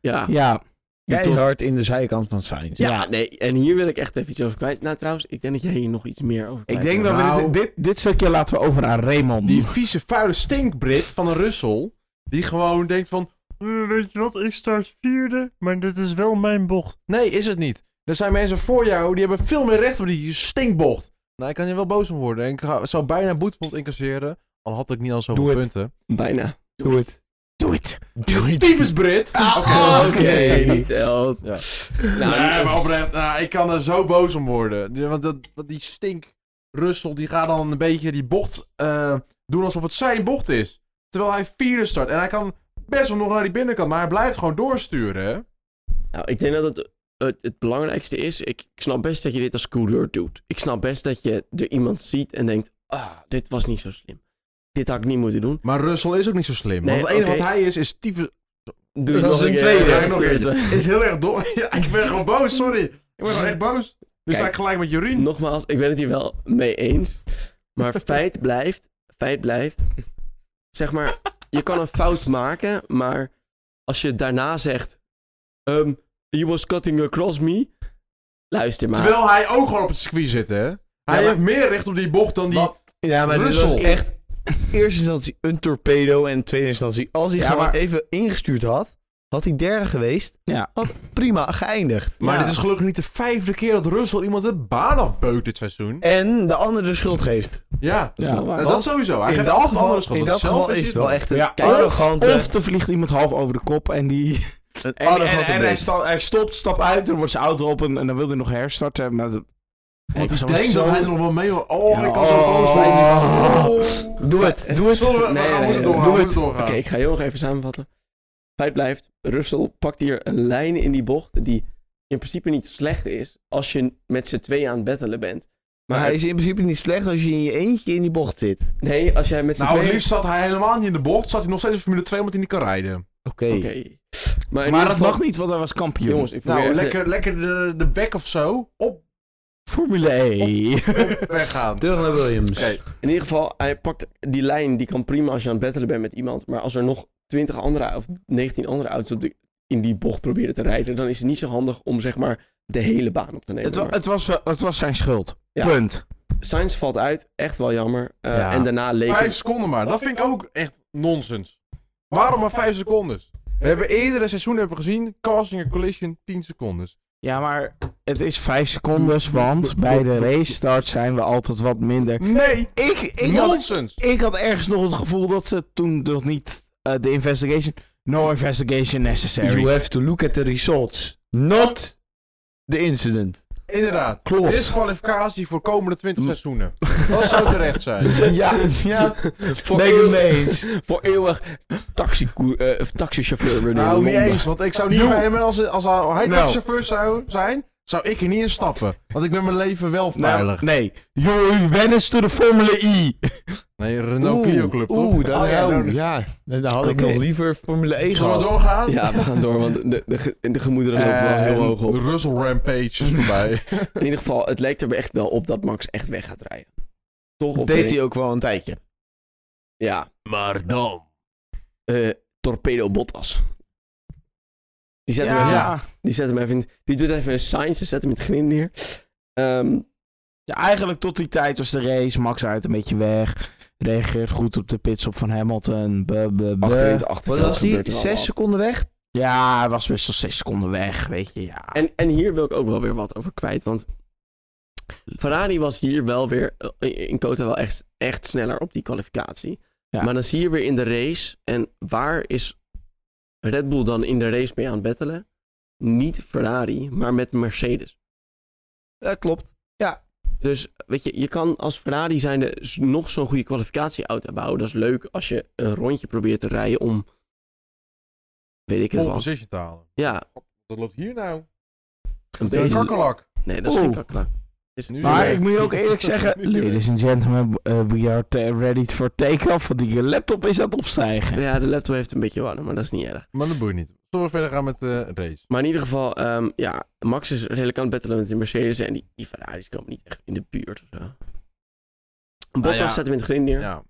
A: ja.
C: Ja,
B: Keihard in de zijkant van Sainz.
A: Ja, nee, en hier wil ik echt even iets over kwijt. Nou, trouwens, ik denk dat jij hier nog iets meer over
C: ik
A: kwijt
C: denk
A: wil.
C: dat we
D: Nou.
C: dit, dit, dit stukje laten we over aan Raymond.
D: Die vieze, vuile stinkbrit van een Russell. Die gewoon denkt van...
E: Eh, Weet je wat, ik start vierde, maar dit is wel mijn bocht.
D: Nee, is het niet. Er zijn mensen voor jou die hebben veel meer recht op die stinkbocht. Nou, ik kan je wel boos om worden. En ik ga- zou bijna een boetepot incasseren. Al had ik niet al zoveel
C: Doe het.
D: punten.
A: Bijna.
C: Doe het. Doe het.
D: Doe Tyfus Brit!
C: Ah,
A: Oké,
D: Oké.
A: niet telt.
D: Ja.
A: Nou,
D: nee, maar oprecht, nou, ik kan er zo boos om worden. Ja, Want dat, want die stink Russell, die gaat dan een beetje die bocht eh, doen alsof het zijn bocht is. Terwijl hij vierde start. En hij kan best wel nog naar die binnenkant, maar hij blijft gewoon doorsturen. hè.
A: nou, ik denk dat het, het, het belangrijkste is, ik, ik snap best dat je dit als coureur doet. Ik snap best dat je er iemand ziet en denkt, ah, dit was niet zo slim. Dit had ik niet moeten doen.
D: Maar Russell is ook niet zo slim.
A: Nee,
D: want het enige
A: oké.
D: wat hij is, is tyfus...
A: Doe je
B: Dat
A: nog
B: is een
A: keer.
B: tweede.
A: Ja,
D: Nog een
A: keertje.
D: Is heel erg dom. Ja, ik ben gewoon boos, sorry. Ik ben gewoon echt boos. Nu
A: Kijk.
D: sta ik gelijk met Jorien.
A: Nogmaals, ik ben het hier wel mee eens. Maar feit blijft, feit blijft. Zeg maar, je kan een fout maken, maar als je daarna zegt, ehm he was cutting across me. Luister maar.
D: Terwijl hij ook gewoon op het circuit zit, hè. Hij
A: maar-
D: heeft meer recht op die bocht dan die...
B: Wat? Ja, maar dit was
D: Russell.
B: echt in eerste instantie een torpedo en in tweede instantie als hij
C: Ja,
B: gewoon
C: maar-
B: even ingestuurd had, had hij derde geweest.
C: Ja.
B: Had prima geëindigd.
D: Maar
C: Ja.
D: dit is gelukkig niet de vijfde keer dat Russell iemand de baan afbeukt dit seizoen.
B: En de ander de schuld geeft.
D: Ja.
C: Ja,
D: Nou,
C: waar.
D: dat
B: Want
D: sowieso. Hij
B: in
D: geeft
B: dat
D: altijd
B: geval,
D: andere
B: in
D: schuld.
B: dat
D: Zelf
B: geval is het
D: hij
B: wel echt een
C: Ja,
B: arrogante...
C: Of er vliegt iemand half over de kop en die...
B: een
C: En, en,
B: arrogante
C: en hij,
B: beest.
C: sta- Oh, hij stopt, stap uit, dan wordt zijn auto op en, en dan wil hij nog herstarten. Maar dat-
D: Want
C: Ik
D: ik
C: zou
D: denk
C: zo-
D: dat hij er nog wel mee wil. Oh,
C: Ja.
D: ik kan zo boos zijn.
C: Oh.
B: Doe het, doe het.
D: Zullen we, we
A: Nee,
D: gaan
A: nee,
D: moeten
A: nee,
D: doorgaan.
B: doe
D: we
B: het.
D: moeten
A: Oké,
D: doorgaan.
A: ik ga heel nog even samenvatten. Feit blijft, Russell pakt hier een lijn in die bocht die in principe niet slecht is als je met z'n tweeën aan het battelen bent. Maar
B: Maar hij is in principe niet slecht als je in je eentje in die bocht zit.
A: nee, als jij met z'n
D: Nou, het
A: tweeën...
D: liefst zat hij helemaal niet in de bocht. Zat hij nog steeds in Formule 2 omdat hij niet kan rijden.
B: Oké.
A: Oké. Maar, in
C: maar
A: ieder
C: dat
A: geval-
C: mag niet, want hij was kampioen.
A: Jongens, ik probeer
D: Nou,
A: even-
D: lekker, lekker de, de bek of zo. Op,
C: Formule E. 1.
D: op weggaan.
B: Terug naar Williams.
D: Oké.
A: In ieder geval, hij pakt die lijn, die kan prima als je aan het battelen bent met iemand. Maar als er nog 20 andere of 19 andere auto's op de- in die bocht proberen te rijden, dan is het niet zo handig om zeg maar de hele baan op te nemen.
C: Het, wa-
A: Maar
C: het, was, wel- het was zijn schuld.
A: Ja.
C: Punt.
A: Sainz valt uit, echt wel jammer. Eh,
C: Ja.
A: En daarna leek het-
D: Vijf seconden maar. Dat vind ik ook echt nonsens. Waarom maar vijf seconden? We hebben eerdere seizoen hebben we gezien, casting en collision 10 seconden.
C: Ja, maar het is vijf secondes, want bij de race start zijn we altijd wat minder.
D: Nee,
C: Ik, ik, had,
D: nonsens!
C: ik had ergens nog het gevoel dat ze toen nog niet eh, de investigation... No investigation necessary.
B: You have to look at the results, not the incident.
D: Inderdaad.
B: Klopt.
D: Disqualificatie voor komende 20 seizoenen. Dat zou terecht zijn.
C: Ja, ja. Voor,
B: Ben ik het
C: eeuwig,
B: mee eens?
C: voor eeuwig taxi, eh taxichauffeur worden in
D: Nou, niet
C: Londen.
D: eens, want ik zou niet
C: Joe.
D: bij hem als, als hij
C: Nou.
D: taxichauffeur zou zijn, zou ik er niet in stappen. Want ik ben mijn leven wel
C: Nou,
D: veilig.
C: nee. Joey Wennis to de Formule
B: E.
C: I.
D: Nee, Renault Clio Club, toch?
B: Oeh, dat,
D: Oh, ja, nou,
B: nou, ja. Nee, Dan had ik
C: Oké.
B: nog liever Formule 1
D: Zullen
B: gehad.
D: we doorgaan?
C: Ja, we gaan door, want de, de, ge- de gemoederen lopen wel heel hoog op.
D: De Russell Rampage is voorbij.
A: In ieder geval, het lijkt er echt wel op dat Max echt weg gaat rijden. Toch? Of
B: deed
A: nee?
B: hij ook wel een tijdje.
A: Ja.
D: maar dan.
A: eh, torpedo Bottas. Die zet, hem
C: Ja,
A: even,
C: ja.
A: die zet hem even in- Die doet even een science en zet hem in het grind neer. Ehm,
C: eigenlijk tot die tijd was de race. Max uit een beetje weg. Reageert goed op de pitstop van Hamilton. Buh, buh, buh.
A: achter in het achterveld
B: Wat was
A: gebeurt
B: die?
A: er wel
B: Zes
A: wat.
B: seconden weg?
C: Ja, hij was best wel zes seconden weg, weet je. Ja.
A: En, en hier wil ik ook wel weer wat over kwijt. Want Ferrari was hier wel weer eh, in Kota wel echt, echt sneller op die kwalificatie.
C: Ja.
A: Maar dan zie je weer in de race. En waar is Red Bull dan in de race mee aan het battelen? Niet Ferrari, maar met Mercedes.
B: Dat klopt.
A: Dus weet je, je kan als Ferrari zijnde s- nog zo'n goede kwalificatieauto bouwen. Dat is leuk als je een rondje probeert te rijden om. Weet ik het
D: Om
A: wel.
D: position te halen.
A: Ja,
D: Wat loopt hier nou?
A: een
D: Een
A: beetje-
D: kakkerlak.
A: Nee, dat is geen
C: Oeh.
A: kakkelak. Het is-
D: Nu
C: Maar
D: weer.
C: ik moet je ook eerlijk zeggen,
D: Nu weer.
C: ladies and gentlemen, eh, we are t- ready for take-off, want die laptop is aan het opstijgen.
A: Ja, de laptop heeft een beetje warm, maar dat is niet erg.
D: Maar dat boeit niet. Zullen we verder gaan met de race?
A: Maar in ieder geval, ehm, ja, Max is redelijk aan het battelen met die Mercedes. En die, die Ferraris komen niet echt in de buurt of zo. Bottas
D: Nou ja.
A: zet hem in het grind neer.
D: Ja.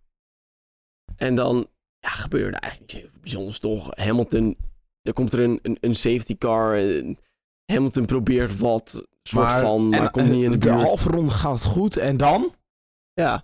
A: En dan ja, gebeurde eigenlijk niet zo heel veel bijzonders toch. Hamilton, er komt er een, een, een safety car. en Hamilton probeert wat, soort
D: Maar-
A: van, maar
C: En,
A: komt
C: eh,
A: niet in de
C: de
A: buurt.
C: halve ronde gaat goed en dan?
A: Ja,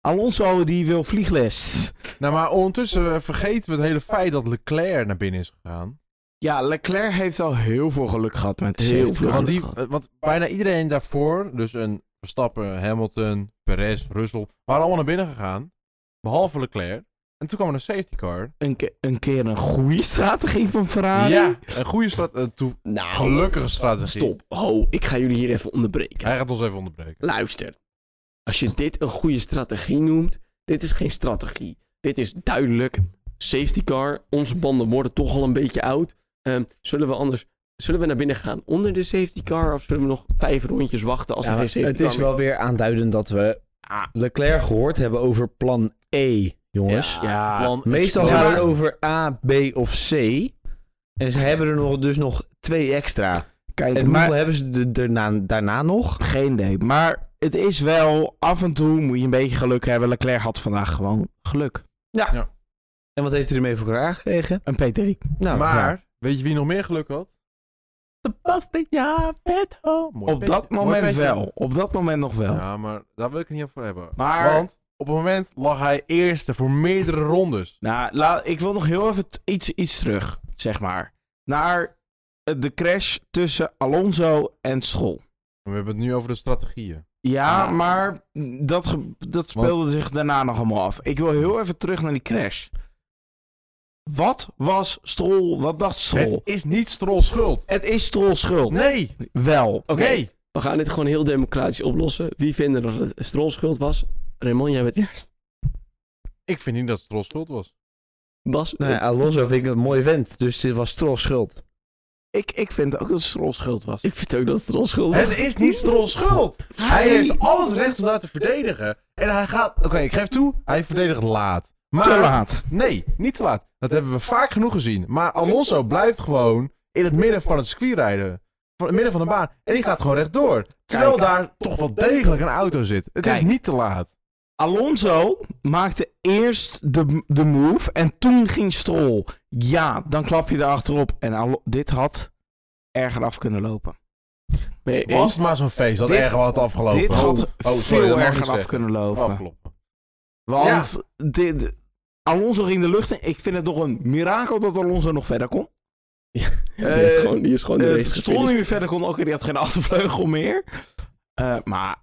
C: Alonso die wil vliegles.
D: Nou, maar ondertussen eh, vergeten we het hele feit dat Leclerc naar binnen is gegaan.
C: Ja, Leclerc heeft wel heel veel geluk gehad met de
A: Heel
C: safety
A: veel.
C: car.
D: Want, die,
A: gehad.
D: eh, want bijna iedereen daarvoor, dus een Verstappen, Hamilton, Perez, Russell, waren allemaal naar binnen gegaan. Behalve Leclerc. En toen kwam er een safety car.
C: Een, ke- een keer een goede strategie van Ferrari.
D: Ja, een goede strategie.
A: nou,
D: gelukkige strategie.
A: stop. Ho, ik ga jullie hier even onderbreken.
D: Hij gaat ons even onderbreken.
A: Luister, als je dit een goede strategie noemt, dit is geen strategie. Dit is duidelijk safety car. Onze banden worden toch al een beetje oud. Ehm, zullen we anders, zullen we naar binnen gaan onder de safety car of zullen we nog vijf rondjes wachten als
B: Ja,
A: we geen safety
B: het
A: car
B: is wel weer aanduidend dat we Leclerc gehoord hebben over plan E,
A: meer-
B: jongens.
C: Ja.
D: Plan
B: Meestal
D: explode.
B: gaat het over A, B of C. En ze hebben er nog, dus nog twee extra.
C: Kijk,
B: En
C: maar
B: hoeveel hebben ze de- daarna, daarna nog?
C: geen idee. Maar het is wel, af en toe moet je een beetje geluk hebben. Leclerc had vandaag gewoon geluk.
B: En wat heeft hij ermee voor elkaar gekregen?
C: Een P3.
B: Nou,
D: maar,
B: ja.
D: weet je wie nog meer geluk had?
C: Sebastian Vettel.
D: Oh, Mooi
C: Op
D: petje,
C: dat
D: mooi
C: moment
D: petje.
C: wel. Op dat moment nog wel.
D: Ja, maar daar wil ik het niet over hebben.
C: Maar-
D: Want op het moment lag hij eerste voor meerdere rondes.
C: Nou, la- ik wil nog heel even t- iets, iets terug, zeg maar. Naar eh, de crash tussen Alonso en School.
D: We hebben het nu over de strategieën.
C: Ja,
A: Ah.
C: maar dat, ge- dat
D: Want-
C: speelde zich daarna nog allemaal af. Ik wil heel even terug naar die crash. Wat was Strol? Wat dacht Strol?
D: Het
C: Het,
D: is niet Strolls schuld.
C: is Strols schuld.
D: Nee,
C: Wel.
A: Oké,
D: nee.
A: we gaan dit gewoon heel democratisch oplossen. Wie vinden dat het Strolls schuld was? Raymond, jij bent eerst.
D: Ik vind niet dat Strolls schuld was.
A: Bas,
B: Nou ja, Alonso vind ik een mooi vent, dus dit was Troll schuld.
C: Ik, ik vind ook dat Strol schuld was.
A: ik vind ook dat het Strolls schuld was.
D: Het is niet Strolls schuld. Hij heeft al het recht om daar te verdedigen. En hij gaat... Oké, ik geef toe. Hij verdedigt laat. Maar...
C: Te laat.
D: Nee, niet te laat. Dat hebben we vaak genoeg gezien. Maar Alonso blijft gewoon in het midden van het circuit rijden. Van het midden van de baan. En die gaat gewoon rechtdoor. Terwijl
C: Kijk.
D: daar toch wel degelijk een auto zit. Het is
C: Kijk.
D: niet te laat.
C: Alonso maakte eerst de, de move en toen ging Strol. Ja, dan klap je erachterop. En Alo- dit had erger af kunnen lopen.
A: Nee,
D: Was
A: eens.
D: maar zo'n feest dat
C: dit-
D: erg had afgelopen.
C: Dit had
D: Oh, sorry, dat
C: veel
D: mag
C: erger
D: niet
C: af
D: zeggen.
C: kunnen lopen.
D: Afgelopen.
C: Want dit, Alonso ging de lucht in. Ik vind het toch een mirakel dat Alonso nog verder kon.
A: Die, heeft gewoon, die is gewoon de
C: Eh,
A: race
C: Stroll niet
A: gefinished.
C: meer verder kon. Oké, die had geen achtervleugel meer. Eh, maar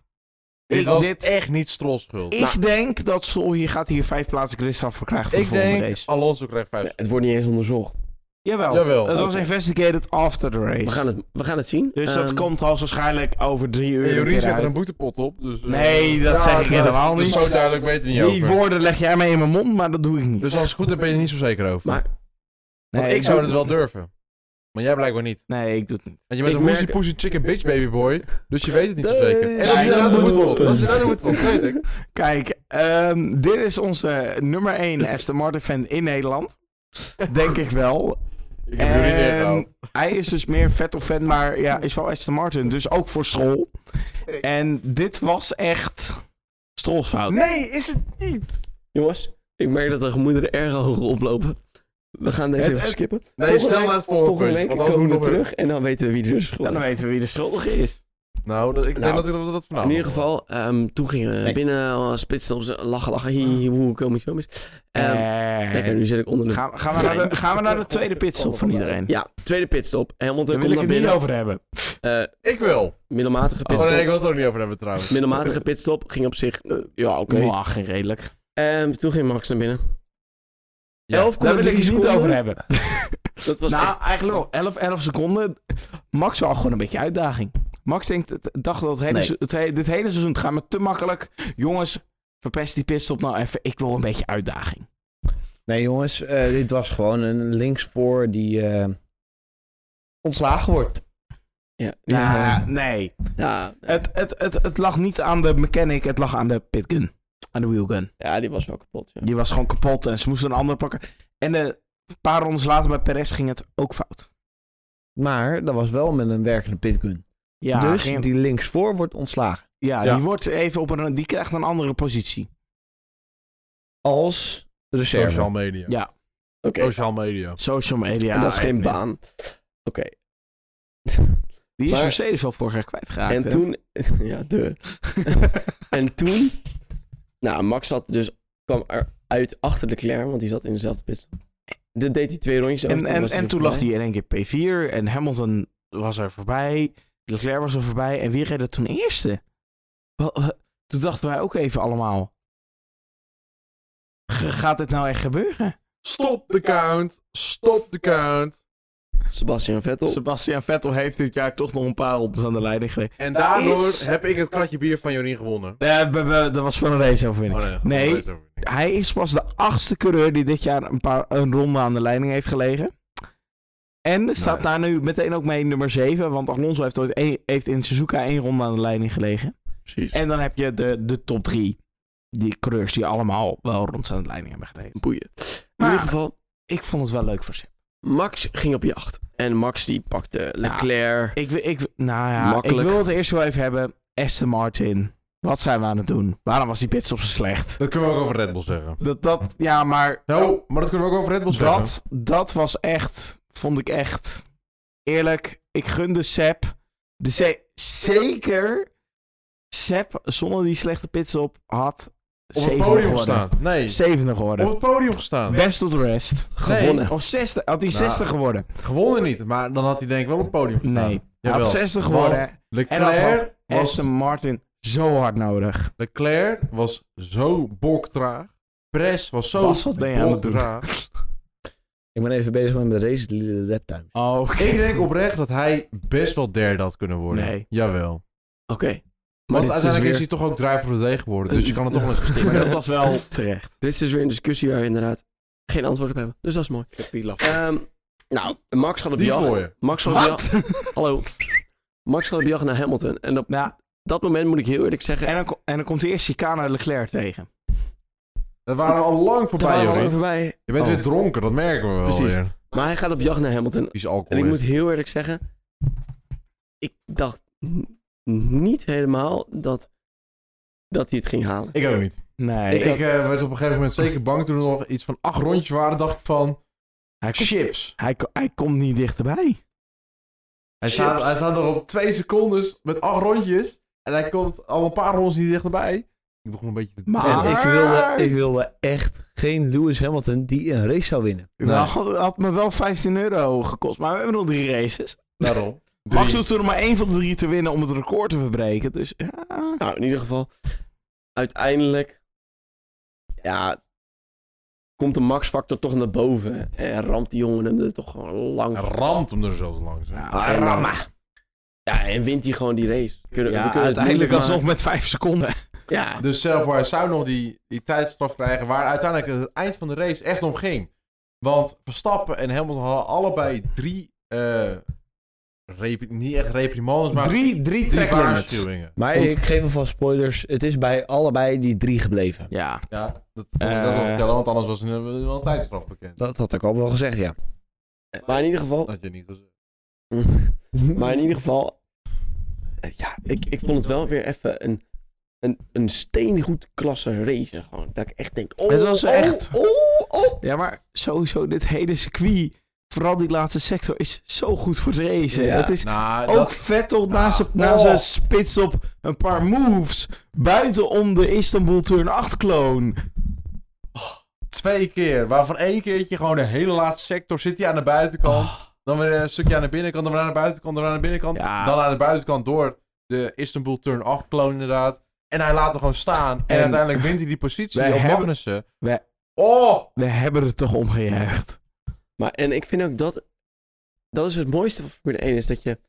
D: Dit
C: ik,
D: was
C: dit-
D: echt niet Strolls schuld.
C: ik denk dat Stroll hier gaat hier vijf plaatsen gridstraf voor krijgen voor de
D: Ik
C: volgende
D: denk
C: race.
D: Alonso krijgt vijf.
A: Het wordt niet eens onderzocht.
C: Jawel.
D: Jawel.
C: Het was
A: Oké.
C: investigated after the race.
A: We gaan het, we gaan het zien.
C: Dus dat
A: Ehm,
C: komt als waarschijnlijk over drie uur. een
D: Jurie
C: keer
D: zet er
C: uit.
D: een boetepot op. Dus, eh,
C: Nee, dat zeg ik
D: nou,
C: helemaal
D: dus
C: niet.
D: Zo duidelijk weet het niet
C: Die
D: over.
C: woorden leg jij mij in mijn mond, maar dat doe ik niet.
D: Dus als het goed is ben je er niet zo zeker over.
A: Maar
D: Want
C: Nee,
D: ik zou
C: doe-
D: het wel durven. Maar jij blijkbaar niet.
C: Nee, ik doe het niet.
D: Want je bent
A: Ik
D: een
A: merk-
D: woesie poesie chicken bitch baby boy. Dus je weet het niet zo zeker.
A: Nee,
D: En dat is
C: nee,
D: inderdaad
C: dat
D: een
C: moet
D: boetepot.
C: wel.
D: Dat is inderdaad een boetepot, weet ik.
C: Kijk, ehm, dit is onze nummer 1 Aston Martin fan in Nederland. Denk ik wel.
D: Ik heb jullie
C: En
D: neergehaald.
C: Hij is dus meer Vettel fan, maar ja, is wel Aston Martin. Dus ook voor Stroll. En dit was echt Strolls fout.
D: Nee, is het niet.
A: jongens, ik merk dat de gemoederen erg hoog oplopen. We gaan deze
D: Het-
A: even
D: het-
A: skippen.
D: Nee, stel maar het volgende
A: Volgende
D: puntje,
A: week
D: want anders
A: komen we
D: moet het
A: terug en dan weten we wie er dus is.
C: Dan weten we wie de schuldige is.
D: Nou, dat, ik
A: Nou,
D: denk dat ik dat, dat
A: In
D: vanavond...
A: ieder geval, ehm, toen gingen we
C: Nee.
A: binnen, eh, spitsen op ze, lachen, lachen, hi, hi, hoe kom ik zo mis. Ehm,
C: Eh,
A: lekker, nu zit ik onder de...
C: gaan, gaan, we naar de, gaan we naar de tweede pitstop van iedereen?
A: Ja, tweede pitstop. Hamilton
C: Daar wil
A: komt naar
C: ik het niet
A: binnen.
C: over hebben.
A: Eh
D: Ik wil.
A: middelmatige
D: Oh
A: pitstop.
D: nee, ik wil het er ook niet over hebben trouwens.
A: Middelmatige pitstop ging op zich... eh, ja, oké.
C: Mwah, geen redelijk.
A: Ehm, toen ging Max naar binnen.
D: Ja.
A: 11,3
C: Daar wil ik het niet
A: seconden.
C: over hebben.
A: Dat was
C: nou,
A: echt...
C: eigenlijk wel 11, 11 seconden. Max wel gewoon een beetje uitdaging. Max denkt, het- dacht dat het hele,
B: Nee.
C: se- het he- dit hele seizoen het gaat me te makkelijk. Jongens, verpest die pitstop nou even. Ik wil een beetje uitdaging.
B: Nee jongens, eh, dit was gewoon een linksvoor die eh, ontslagen wordt.
A: Ja,
C: nou, Ja,
A: ja,
C: nee.
A: ja,
C: Het, het, het, het lag niet aan de mechanic, het lag aan de pitgun. Aan de wheelgun.
A: ja, die was wel kapot. Ja.
C: Die was gewoon kapot en ze moesten een andere pakken. En eh, een paar rondes later bij Perez ging het ook fout.
B: Maar dat was wel met een werkende pitgun.
C: Ja,
B: dus
C: ging-
B: die linksvoor wordt ontslagen.
C: ja,
D: Ja.
C: die, wordt even op een, die krijgt een andere positie.
B: Als
D: Social
B: reserve.
D: media.
C: Ja,
A: Oké,
C: oh,
D: Social media.
C: social media. eh,
A: en dat is geen
C: en-
A: baan. Oké.
C: Die is
A: Maar-
C: Mercedes wel vorig jaar kwijtgeraakt.
A: En
C: hè?
A: toen... Ja, de. en toen... Nou, Max zat dus... kwam eruit achter Leclerc, want die zat in dezelfde pitstop. Dat deed hij twee rondjes over.
C: en, en,
A: was
C: en
A: er
C: toen lag
A: voorbij.
C: hij in één keer P4 en Hamilton was er voorbij. Leclerc was er voorbij. En wie reed er toen eerste? Wel, eh, Toen dachten wij ook even allemaal. "G- Gaat dit nou echt gebeuren?
D: Stop de count. Stop de count.
A: Sebastian Vettel.
C: Sebastian Vettel heeft dit jaar toch nog een paar rondes aan de leiding gereden.
D: En daardoor
C: Is-
D: heb ik het kratje bier van Jorien gewonnen.
C: Nee, we- we- dat was van een race overwinning.
D: Oh,
C: Nee.
D: dat is over.
C: Hij is pas de achtste coureur die dit jaar een, paar, een ronde aan de leiding heeft gelegen. En staat
D: Nee.
C: daar nu meteen ook mee nummer 7. Want Alonso heeft, ooit één- heeft in Suzuka één ronde aan de leiding gelegen.
A: Precies.
C: En dan heb je de, de top 3. Die coureurs die allemaal wel rondes aan de leiding hebben gereden.
A: Boeien. In
C: Maar-
A: ieder geval,
C: Ik vond het wel leuk voor ze.
A: Max ging op jacht. En Max die pakte Leclerc.
C: Ik, wil- ik, wil- nou ja,
A: Makkelijk.
C: ik wil het eerst wel even hebben. Aston Martin. Wat zijn we aan het doen? Waarom was die pitstop zo slecht?
D: Dat kunnen we ook over Red Bull zeggen.
C: Dat, dat, ja, maar
D: Nou, maar dat kunnen we ook over Red Bull zeggen.
C: Dat, dat was echt, vond ik echt. Eerlijk, ik gunde Sepp. De ze- zeker. Sepp, zonder die slechte pits op, had.
D: Op het
C: 70
D: podium
C: geworden.
D: gestaan. Nee.
C: 70
D: Op
C: geworden.
D: het podium gestaan.
C: Best tot rest.
A: gewonnen.
C: Of 60. Had hij
D: Nou.
C: 60 geworden?
D: Gewonnen niet, maar dan had hij denk ik wel op het podium gestaan.
C: Nee. Hij
D: Jawel.
C: had 60
D: Want
C: geworden. En dan had
D: Leclerc was,
C: Aston Martin zo hard nodig.
D: Leclerc was zo boktraag. Perez was zo
C: Bas, wat ben je aan het doen?
D: boktraag.
B: Ik ben even bezig met mijn race de laptime.
C: Oh,
D: Ik denk oprecht dat hij best wel derde had kunnen worden.
C: Nee.
D: Jawel.
A: Oké. Maar
D: Want
A: dit is, dus
D: uiteindelijk is
A: weer,
D: hij toch ook driver voor de deeg geworden. Dus je kan het toch wel eens
C: Maar
D: gestikken.
C: dat was wel terecht.
A: dit is dus weer een discussie waar we inderdaad geen antwoord op hebben. Dus dat is mooi. Ehm, nou, Max gaat op
D: Die
A: jacht.
D: voor je.
A: Max gaat op jacht. Hallo. Max gaat op jacht naar Hamilton. En op
C: Nou,
A: dat moment moet ik heel eerlijk zeggen...
C: en, dan, ko- en dan komt hij eerst Chicane Leclerc tegen.
D: We waren al lang
A: daar
D: voorbij,
A: waren we al
D: Jorrie.
A: voorbij.
D: Je bent
A: Oh.
D: weer dronken, dat merken we wel
A: Precies.
D: weer.
A: Maar hij gaat op jacht naar Hamilton.
D: Die is
A: En
D: alcohol.
A: ik moet heel eerlijk zeggen... Ik dacht n- niet helemaal dat, dat hij het ging halen.
D: Ik ook niet.
C: Nee,
D: Ik,
A: had-
D: eh, werd op een gegeven moment zeker bang toen er nog iets van acht rondjes waren. dacht ik van,
C: hij, komt-
D: chips.
C: hij, ko- hij komt niet dichterbij.
D: Hij staat, hij staat nog op twee secondes met acht rondjes. En hij komt al een paar rondes niet dichterbij. Ik begon een beetje te...
C: Maar-
B: En ik wilde, ik wilde echt geen Lewis Hamilton die een race zou winnen.
D: Nee.
C: Nou, had, had me wel 15 euro gekost, maar we hebben nog drie races.
D: Daarom.
C: Max hoeft er maar één van de drie te winnen om het record te verbreken. Dus ja.
A: Nou, in ieder geval, uiteindelijk. Ja, komt de maxfactor toch naar boven. En ramt die jongen hem er toch gewoon lang.
D: Hij
A: voor.
D: ramt hem er zelfs langs. hè.
C: Ja,
A: en-
C: rammen.
A: Ja, en wint hij gewoon die race. Kunnen,
C: Ja,
A: we kunnen het
C: uiteindelijk
A: moeilijk
C: alsnog met vijf seconden.
A: maken. Ja,
D: Dus zelf waar zou nog die, die tijdstraf krijgen, waar uiteindelijk het eind van de race echt om ging. Want Verstappen en Hamilton hadden allebei drie, eh, repri- niet echt reprimandes, maar
C: Drie, drie
D: drie
C: tracklimits.
D: waarschuwingen.
B: Maar
C: Want-
B: ik geef alvast spoilers. Het is bij allebei die drie gebleven.
C: Ja,
D: Ja, dat kon ik best wel
C: Eh.
D: vertellen, want anders was er wel een tijdstraf bekend.
B: Dat had ik al wel gezegd, ja.
A: maar in ieder geval.
D: Dat had je niet gezegd.
A: Maar in ieder geval, eh, ja, ik, ik vond het wel weer even een, een, een steengoed klasse race. Gewoon, dat ik echt denk, oh,
C: Het was
A: oh,
C: echt-
A: oh, oh.
C: ja, maar sowieso dit hele circuit, vooral die laatste sector, is zo goed voor de race.
A: Ja.
C: Het is Oh,
D: Nou,
C: ook
D: dat,
C: Vettel na zijn, na
A: oh.
C: zijn spits op een paar moves buiten om de Istanbul Turn 8 kloon.
D: twee keer. Waarvan één keertje gewoon de hele laatste sector zit hij aan de buitenkant. Dan weer een stukje aan de binnenkant, dan weer aan de buitenkant, dan weer aan de binnenkant.
C: Oh. Ja.
D: Dan aan de buitenkant door de Istanbul Turn 8 kloon inderdaad. En hij laat hem gewoon staan. En,
C: En-
D: uiteindelijk wint hij die positie
C: Wij
D: op
C: hebben-
D: Magnussen.
C: Wij-
D: Oh!
C: We hebben het toch omgejuicht.
A: Maar en ik vind ook dat, dat is het mooiste van Formule 1, is dat je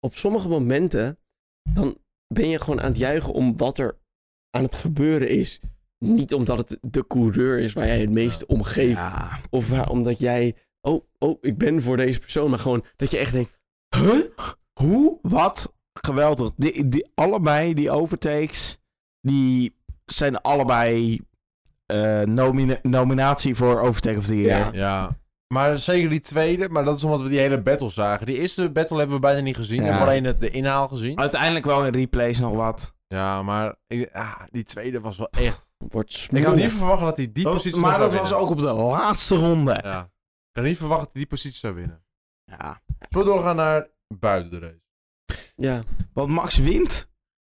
A: op sommige momenten, dan ben je gewoon aan het juichen om wat er aan het gebeuren is. Niet omdat het de coureur is waar jij het meeste om geeft.
C: Ja.
A: Of waar- omdat jij, oh, oh, ik ben voor deze persoon. Maar gewoon dat je echt denkt, huh?
C: Hoe? Wat? Geweldig. Die, die, allebei die overtakes, die zijn allebei eh, nomina- nominatie voor Overtake of the Year.
A: Ja.
D: Ja. Maar zeker die tweede, maar dat is omdat we die hele battle zagen. Die eerste battle hebben we bijna niet gezien. We
C: Ja.
D: hebben alleen het- de inhaal gezien.
C: Uiteindelijk wel in replays nog wat.
D: Ja, maar ik- ah, die tweede was wel echt...
A: Wordt smoel.
D: Ik had niet verwacht dat hij die positie nog
C: Oh, maar
D: zou
C: dat was
D: winnen.
C: ook op de laatste ronde.
D: Ja. Ik had niet verwacht dat hij die positie zou winnen.
C: Ja.
D: Zullen we doorgaan naar buiten de race?
A: Ja.
C: Want Max wint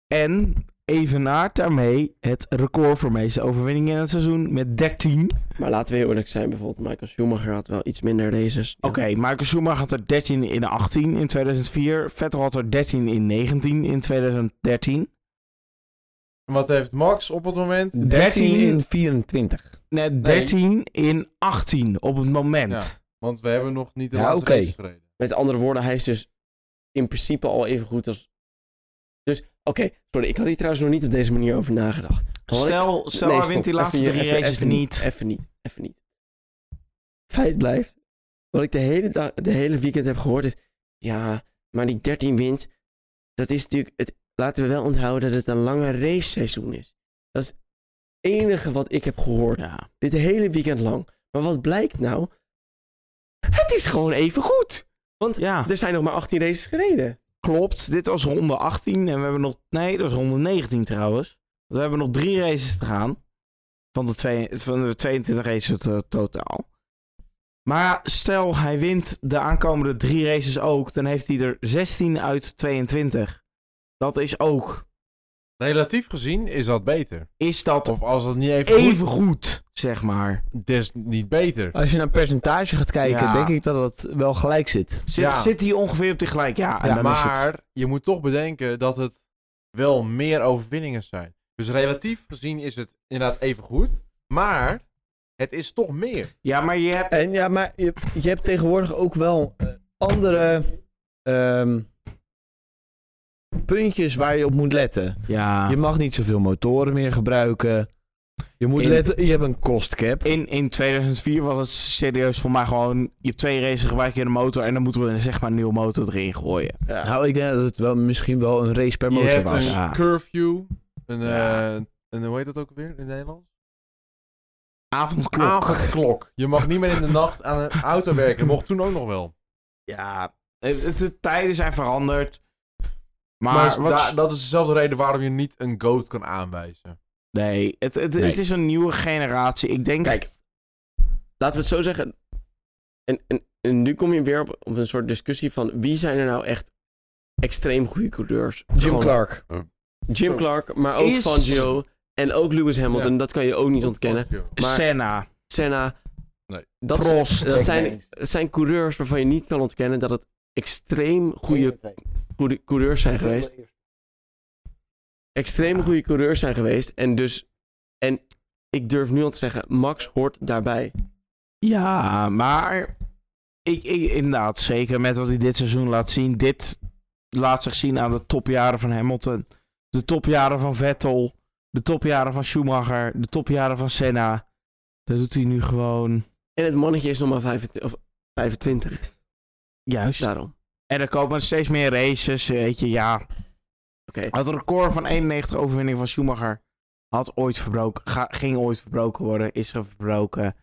C: en evenaart daarmee het record voor meeste overwinningen in het seizoen met 13.
A: Maar laten we heel eerlijk zijn, bijvoorbeeld Michael Schumacher had wel iets minder races.
C: Oké, Michael Schumacher had er 13 in 18 in 2004. Vettel had er 13 in 19 in 2013.
D: En Wat heeft Max op het moment?
B: 13 in 24.
C: Nee, 13 in 18 op het moment.
D: Want we hebben nog niet de
B: Ja,
D: laatste
B: oké.
D: race gereden.
A: Met andere woorden, hij is dus in principe al even goed als... Dus, oké, sorry, ik had hier trouwens nog niet op deze manier over nagedacht. Want ik-
C: Stel, stel
A: Nee,
C: hij
A: stop.
C: wint
A: Even
C: die laatste
A: hier,
C: drie
A: even-
C: races
A: even
C: niet.
A: Even niet, even niet. Feit blijft, wat ik de hele, dag, de hele weekend heb gehoord is... Ja, maar die 13 wint, dat is natuurlijk... Het, laten we wel onthouden dat het een lange race seizoen is. Dat is het enige wat ik heb gehoord.
C: Ja.
A: Dit hele weekend lang. Maar wat blijkt nou? Het is gewoon even goed.
C: ja,
A: Er zijn nog maar 18 races gereden.
C: klopt. Dit was ronde 18 en we hebben nog... Nee, dat was ronde 19 trouwens. We hebben nog drie races te gaan. Van de, twee, van de 22 races to- totaal. Maar stel hij wint de aankomende drie races ook, dan heeft hij er 16 uit 22. Dat is ook.
D: Relatief gezien is dat beter.
C: Is dat
D: Of als dat niet even,
C: even goed, zeg maar.
D: goed, des niet beter.
B: Als je naar percentage gaat kijken,
C: Ja.
B: denk ik dat dat wel gelijk zit.
C: Zit,
D: Ja.
C: zit hij ongeveer op die gelijk? Ja, Ah, en dan is het-
D: maar je moet toch bedenken dat het wel meer overwinningen zijn. Dus relatief gezien is het inderdaad even goed. Maar het is toch meer.
C: Ja, maar je hebt...
B: En ja, maar je, je hebt tegenwoordig ook wel eh, andere ehm, puntjes waar je op moet letten.
C: Ja.
B: Je mag niet zoveel motoren meer gebruiken. Je moet
C: In-
B: letten, je hebt een cost cap.
C: In, in 2004 was het serieus voor mij gewoon... Je hebt twee races gewerkt in de motor... en dan moeten we zeg maar een nieuwe motor erin gooien.
B: Nou, ik denk dat het wel misschien wel een race per
D: Je
B: motor
D: hebt
B: was.
D: een
C: Ja.
D: curfew. Een,
C: Ah. Ja.
D: eh, een, hoe heet dat ook weer in Nederland?
C: Avondklok.
D: Avondklok. Je mag niet meer in de nacht aan een auto werken. Dat mocht toen ook nog wel.
C: Ja, het, het- de tijden zijn veranderd. Maar,
D: Maar,
C: wat-
D: da- dat is dezelfde reden waarom je niet een goat kan aanwijzen.
C: nee, het, het,
B: Nee.
C: het is een nieuwe generatie. Ik denk...
A: Kijk, Laten we het zo zeggen. En, en, en nu kom je weer op, op een soort discussie van wie zijn er nou echt extreem goede coureurs.
B: Jim
A: Gewoon
B: Clark.
A: Jim Clark, maar ook
C: Is-
A: Fangio. En ook Lewis Hamilton,
D: Ja.
A: dat kan je ook niet ontkennen. maar-
C: Senna,
A: Senna.
D: Nee.
A: Dat,
C: Prost.
A: dat zijn, dat zijn coureurs waarvan je niet kan ontkennen dat het extreem goede goede coureurs zijn geweest. Extreem goede coureurs zijn geweest. En dus. En ik durf nu al te zeggen, Max hoort daarbij.
C: Ja, maar ik, ik, inderdaad, zeker met wat hij dit seizoen laat zien. Dit laat zich zien aan de topjaren van Hamilton. De topjaren van Vettel. De topjaren van Schumacher. De topjaren van Senna. Dat doet hij nu gewoon
A: En het mannetje is nog maar 25, of 25
C: juist.
A: daarom.
C: En er komen steeds meer races, weet je, ja.
A: Oké.
C: Het record van 91 overwinning van Schumacher had ooit verbroken, ga- ging ooit verbroken worden, is er verbroken.
D: Goed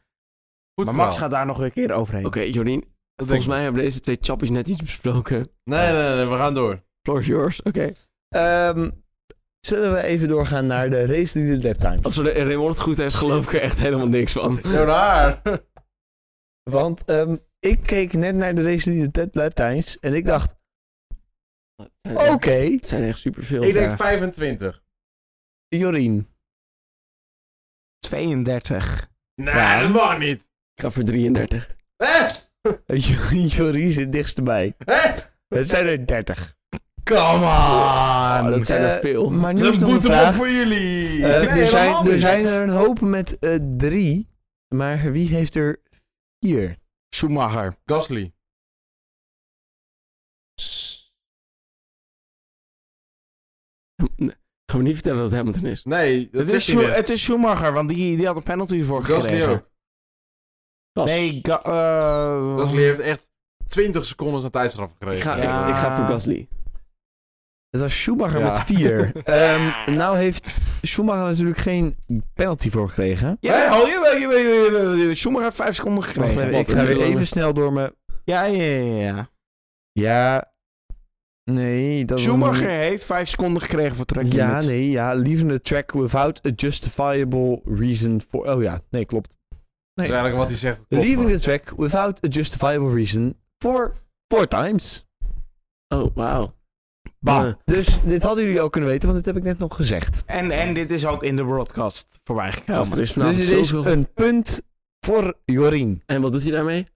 C: maar
D: verhaal.
C: Max gaat daar nog weer een keer overheen.
A: Oké, Jorien. Volgens mij hebben deze twee chappies net iets besproken.
D: Nee, nee, nee, we gaan door.
A: Floor is yours. Oké.
B: Ehm, zullen we even doorgaan naar de race die de lap time?
A: Als we de eh, Raymond het goed heeft, geloof ik er echt helemaal niks van.
D: Jouw haar.
B: Want ehm, ik keek net naar de race die de lap times en ik dacht,
A: Het zijn
B: oké,
A: echt- Het zijn echt superveel.
D: Ik denk
C: Ja.
D: 25.
B: Jorien.
C: 32.
D: Nee,
C: Ja.
D: dat mag niet.
A: Ik ga voor 33.
D: Hè?
B: Jorien zit dichtstbij.
D: Hè?
B: Het zijn er 30.
C: Come on!
A: Oh, dat zijn er
B: Eh,
A: veel.
B: Maar nu
D: Dat
B: is
D: is
B: nog een
D: boete op
B: vraag.
D: voor jullie.
B: Eh,
D: Nee,
B: er, zijn,
D: helemaal
B: er
D: niet.
B: zijn er een hoop met eh, drie, maar wie heeft er vier?
C: Schumacher.
D: Gasly.
A: Ga me niet vertellen dat het Hamilton is.
D: Nee, dat
C: Het is,
D: is
C: Schu-
D: hij net.
C: het is Schumacher, want die, die had een penalty voor
D: Gasly
C: gekregen.
D: ook.
A: Gas.
C: Nee, Ga- eh,
D: Gasly heeft echt 20 seconden zijn tijdstraf
A: ik,
D: gekregen.
A: ga,
C: Ja.
A: ik, ik ga voor Gasly.
B: Het was Schumacher
D: Ja.
B: met vier. Ehm, nou heeft Schumacher natuurlijk geen penalty voor gekregen.
C: Ja,
D: Hè?
C: oh, jawel, jawel, jawel, jawel, jawel. Schumacher heeft 5 seconden
B: Wacht
C: gekregen.
B: even,
A: wat
B: ik
A: een
B: ga weer
A: hele lange-
B: even snel door me.
C: Ja, ja, ja, ja.
B: Ja. Nee, dat was een-
C: Schumacher heeft 5 seconden gekregen voor track
B: Ja,
C: limit.
B: nee, ja. Leaving the track without a justifiable reason for... Oh ja, nee, klopt.
D: Dat is eigenlijk wat hij zegt. klopt,
B: Leaving
D: man.
B: the track without a justifiable reason for four times.
A: Oh, wauw.
B: Bam.
A: Eh,
B: Dus dit hadden jullie ook kunnen weten, want dit heb ik net nog gezegd.
C: En, en dit is ook in de broadcast voorbij
A: gast, er
C: gekomen.
A: is vanavond
B: dus dit is
A: zoveel-
B: een punt voor Jorien.
A: En wat doet hij daarmee?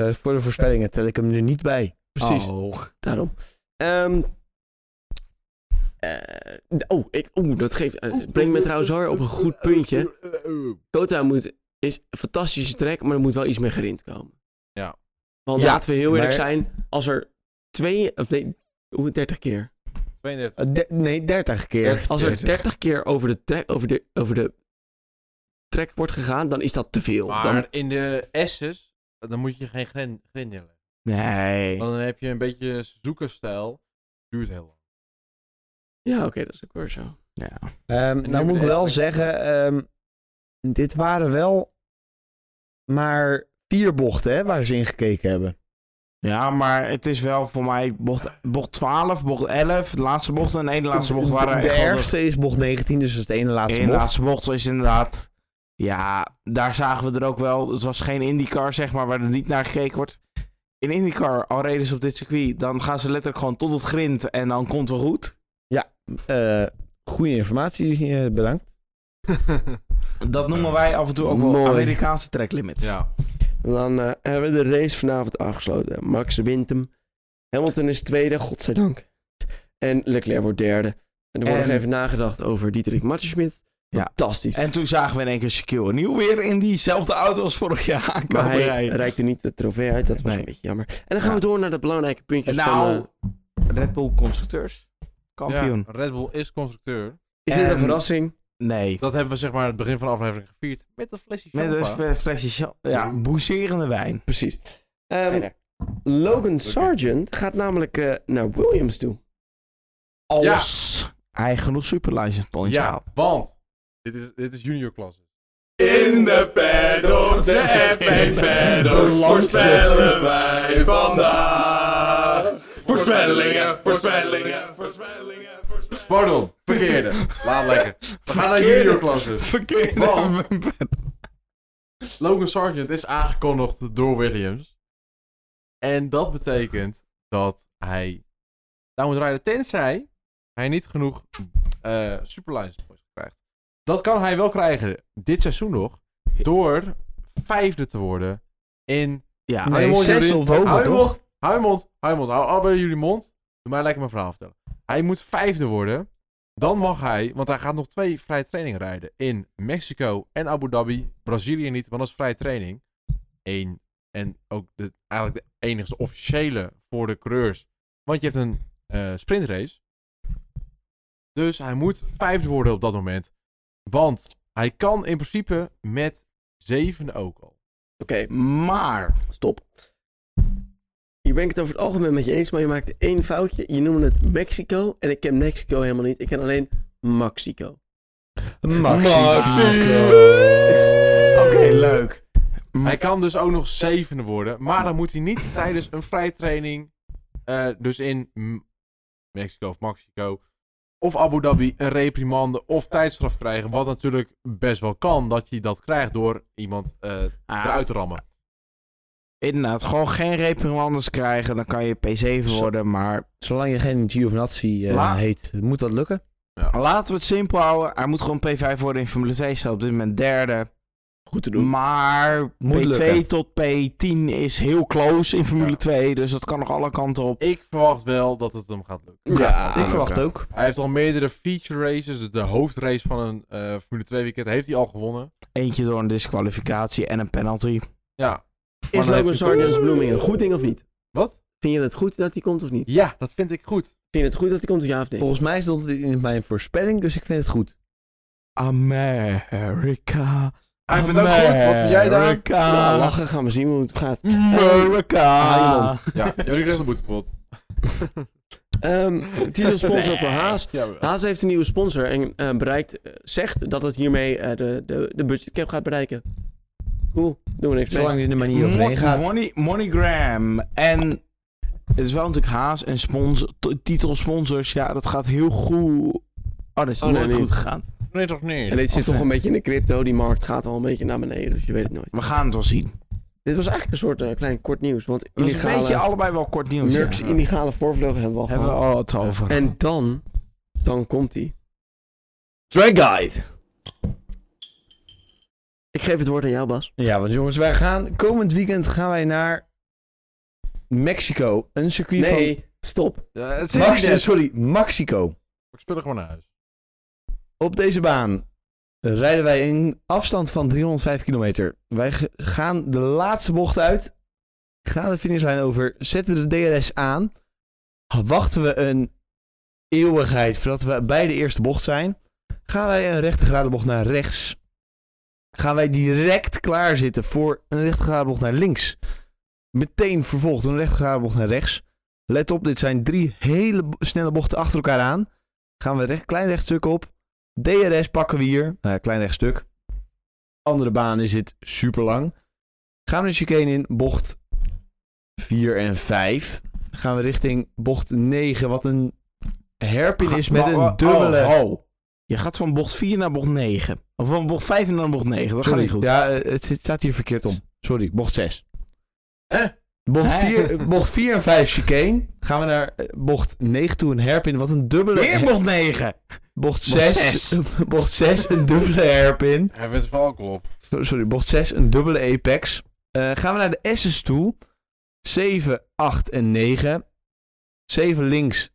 B: Eh, voor de voorspellingen tel ik hem er niet bij.
A: Precies.
C: Oh.
A: Daarom. Ehm, eh, oh, ik, oeh, dat geeft. eh, Het brengt me trouwens wel weer op een goed puntje. Kota moet, is een fantastische track, maar er moet wel iets meer grind komen.
D: Ja.
A: Want
B: Ja,
A: laten we heel eerlijk
B: maar-
A: zijn, als er twee, of nee, hoe 30 keer.
D: 32.
B: Eh, de- nee, 30 keer.
A: Als er
C: 30.
A: 30 keer over de track, over de, over de track wordt gegaan, dan is dat te veel. Dan,
D: Maar in de S's, dan moet je geen grin- grind neerleggen.
C: Nee.
D: Dan heb je een beetje zoekerstijl. Duurt heel lang.
A: ja, oké, dat is ook weer zo.
C: Ja.
B: Ehm,
D: nu
B: nou moet ik
D: de
B: wel
D: eerste.
B: zeggen, ehm, dit waren wel maar vier bochten hè, waar ze in gekeken hebben.
C: ja, maar het is wel voor mij bocht, bocht 12, bocht 11, de laatste bocht en de ene laatste bocht waren
B: de
C: echt wel
B: ergste is bocht 19, dus dat is de ene
C: De
B: laatste
C: ene
B: bocht.
C: laatste bocht is inderdaad... Ja, daar zagen we er ook wel. Het was geen IndyCar, zeg maar, waar er niet naar gekeken wordt. In IndyCar, al reden ze op dit circuit, dan gaan ze letterlijk gewoon tot het grind en dan komt het wel goed.
B: Eh, goede informatie, eh, bedankt.
C: Dat noemen wij af en toe ook wel
A: Mooi.
C: Amerikaanse track limits.
D: ja.
A: En dan eh, hebben we de race vanavond afgesloten. Max wint hem. Hamilton is tweede, godzijdank. En Leclerc wordt derde. En er wordt
C: En-
A: nog even nagedacht over Dietrich Matschmidt.
C: Ja.
A: Fantastisch.
C: En toen zagen we in één keer Shaquille Nieuw weer in diezelfde auto als vorig jaar
A: Maar
C: aankomen
A: hij
C: rijden.
A: reikte niet de trofee uit. Dat was
C: Oh, Nee.
A: een beetje jammer. En dan gaan
C: Ja.
A: we door naar de belangrijke puntjes van...
C: Nou,
A: eh,
C: Red Bull constructeurs. Kampioen.
D: Ja, Red Bull is constructeur.
A: is dit
C: en-
A: een verrassing?
C: Nee.
D: Dat hebben we zeg maar aan het begin van de aflevering gevierd. Met een flesje
C: Met
D: champagne.
C: een fle- flesje cham- ja, boezerende wijn.
A: Precies. Ehm,
C: Verder.
A: Logan
D: Oké.
A: Sargent gaat namelijk eh, naar Williams toe.
C: Als hij genoeg superlicense points
D: Ja,
C: haalt.
D: want dit is, dit is junior klasse.
F: In de paddock, de F1 paddock, voorspellen wij vandaag. Voorspellingen, voorspellingen, voorspellingen, voorspellingen.
D: Pardon, verkeerde. Laat lekker. We gaan naar junior classes.
C: Verkeerde
D: Want- Logan Sargent is aangekondigd door Williams. En dat betekent dat hij nou, daar moet rijden tenzij hij niet genoeg eh superlicense points krijgt. Dat kan hij wel krijgen dit seizoen nog door vijfde te worden in...
C: Ja,
B: Nee,
D: Hou je mond,
B: zesde
D: Jordi.
B: of hoger,
D: Hou je
B: toch?
D: mond, hou je mond, hou je mond. Hou allebei jullie mond. Doe mij lekker mijn verhaal vertellen. Hij moet vijfde worden Dan mag hij, want hij gaat nog twee vrije trainingen rijden. In Mexico en Abu Dhabi. Brazilië niet, want dat is vrije training. Eén. En ook de, eigenlijk de enige officiële voor de coureurs. Want je hebt een eh, sprintrace. Dus hij moet vijfde worden op dat moment. Want hij kan in principe met zevende ook al.
A: Oké,
C: Maar,
A: stop. Hier ben ik het over het algemeen met je eens, maar je maakte één foutje. Je noemde het Mexico en ik ken Mexico helemaal niet. Ik ken alleen Mexico.
C: oké, leuk.
D: Hij kan dus ook nog zevende worden. Maar dan moet hij niet tijdens een vrije training. eh, dus in M- Mexico of Mexico. Of Abu Dhabi een reprimande of tijdstraf krijgen. Wat natuurlijk best wel kan dat je dat krijgt door iemand eh,
C: Ah,
D: eruit te rammen.
C: inderdaad, gewoon geen reprimandes krijgen. Dan kan je P7
B: Zo-
C: worden, maar...
B: Zolang je geen Giovinazzi eh
C: La-
B: heet, moet dat lukken.
C: Laten we het simpel houden. Hij moet gewoon P5 worden in Formule 6. Op dit moment derde.
A: Goed te doen.
C: Maar
B: Moet
C: P2
B: lukken.
C: tot P10 is heel close in Formule
D: Ja.
C: 2. Dus dat kan nog alle kanten op.
D: Ik verwacht wel dat het hem gaat lukken.
A: Ja,
B: ik verwacht ook.
D: Hij heeft al meerdere feature races. dus De hoofdrace van een eh, Formule 2 weekend heeft hij al gewonnen.
C: Eentje door een disqualificatie en een penalty.
D: Ja. Maar
A: Is
D: dan
A: Logan
D: heeft hij-
A: Sargent's Blooming een goed ding of niet?
D: Wat?
A: Vind je het goed dat hij komt of niet?
D: Ja, dat vind ik goed.
A: Vind je het goed dat hij komt of ja of nee?
B: Volgens mij stond het in mijn voorspelling, dus ik vind het goed.
C: America.
D: Hij vindt het ook goed. Wat vind jij daar?
A: Nou,
C: America.
A: lachen, gaan we zien hoe het gaat. Haal je
C: America.
A: mond.
D: Ja, jullie krijgen een boetepot.
A: Ehm titelsponsor voor Haas.
D: Ja,
A: Haas heeft een nieuwe sponsor en eh, bereikt, eh, zegt dat het hiermee eh, de, de, de budgetcap gaat bereiken. Cool, doen we niks mee.
B: Zolang je er maar niet overheen
C: Mon-
B: gaat.
C: Money, MoneyGram. En het is wel natuurlijk Haas en sponsor, t- titelsponsors. Ja, dat gaat heel goed. Oh, dat is
A: Oh, nee,
C: nooit
A: niet.
C: goed gegaan.
D: Nee, toch niet?
A: En dit zit toch een beetje in de crypto, die markt gaat al een beetje naar beneden, dus je weet het nooit.
C: We gaan het wel zien.
A: Dit was eigenlijk een soort eh, klein kort nieuws, want
C: Dat is een
A: illegale,
C: beetje allebei wel kort nieuws. ja.
A: Merck's illegale voorvleugel hebben we al
C: Hebben we
A: gehad.
C: al het over.
A: En dan, dan komt hij. Drag Guide. Ik geef het woord aan jou, Bas.
B: Ja, want jongens, wij gaan komend weekend gaan wij naar Mexico. Een circuit
A: Nee,
B: van...
A: stop.
D: het
B: Max- sorry, Mexico.
D: Ik speel er gewoon naar huis.
B: Op deze baan rijden wij een afstand van 305 kilometer. Wij ge- gaan de laatste bocht uit, gaan de finishlijn over, zetten de DRS aan, wachten we een eeuwigheid voordat we bij de eerste bocht zijn, gaan wij een rechte bocht naar rechts. Gaan wij direct klaarzitten voor een rechte bocht naar links. Meteen vervolgd door een rechte bocht naar rechts. Let op, dit zijn drie hele bo- snelle bochten achter elkaar aan. Gaan we recht, klein rechtstuk op. DRS pakken we hier. Nou ja, klein rechtstuk. Andere baan is dit super lang. Gaan we de chicane in bocht 4 en 5. Gaan we richting bocht 9. Wat een herpin is met
C: Wa- wa-
B: een dubbele...
C: Oh, oh. Je gaat van bocht 4 naar bocht 9. Of van bocht 5 naar bocht 9. Dat gaat
B: Sorry,
C: niet goed.
B: ja, eh, het zit- staat hier verkeerd om. Sorry, bocht 6.
D: Hè?
B: Bocht
C: Hè?
B: 4 bocht vier en 5 chicane. Gaan we naar eh, bocht 9 toe, een herpin. Wat een dubbele...
C: Weer bocht 9.
B: bocht
C: zes.
B: 6. Bocht 6, een dubbele herpin.
D: Hij vindt wel klop.
B: So- Sorry, bocht 6, een dubbele apex. Eh, gaan we naar de S's toe. 7, 8 en 9. 7 links,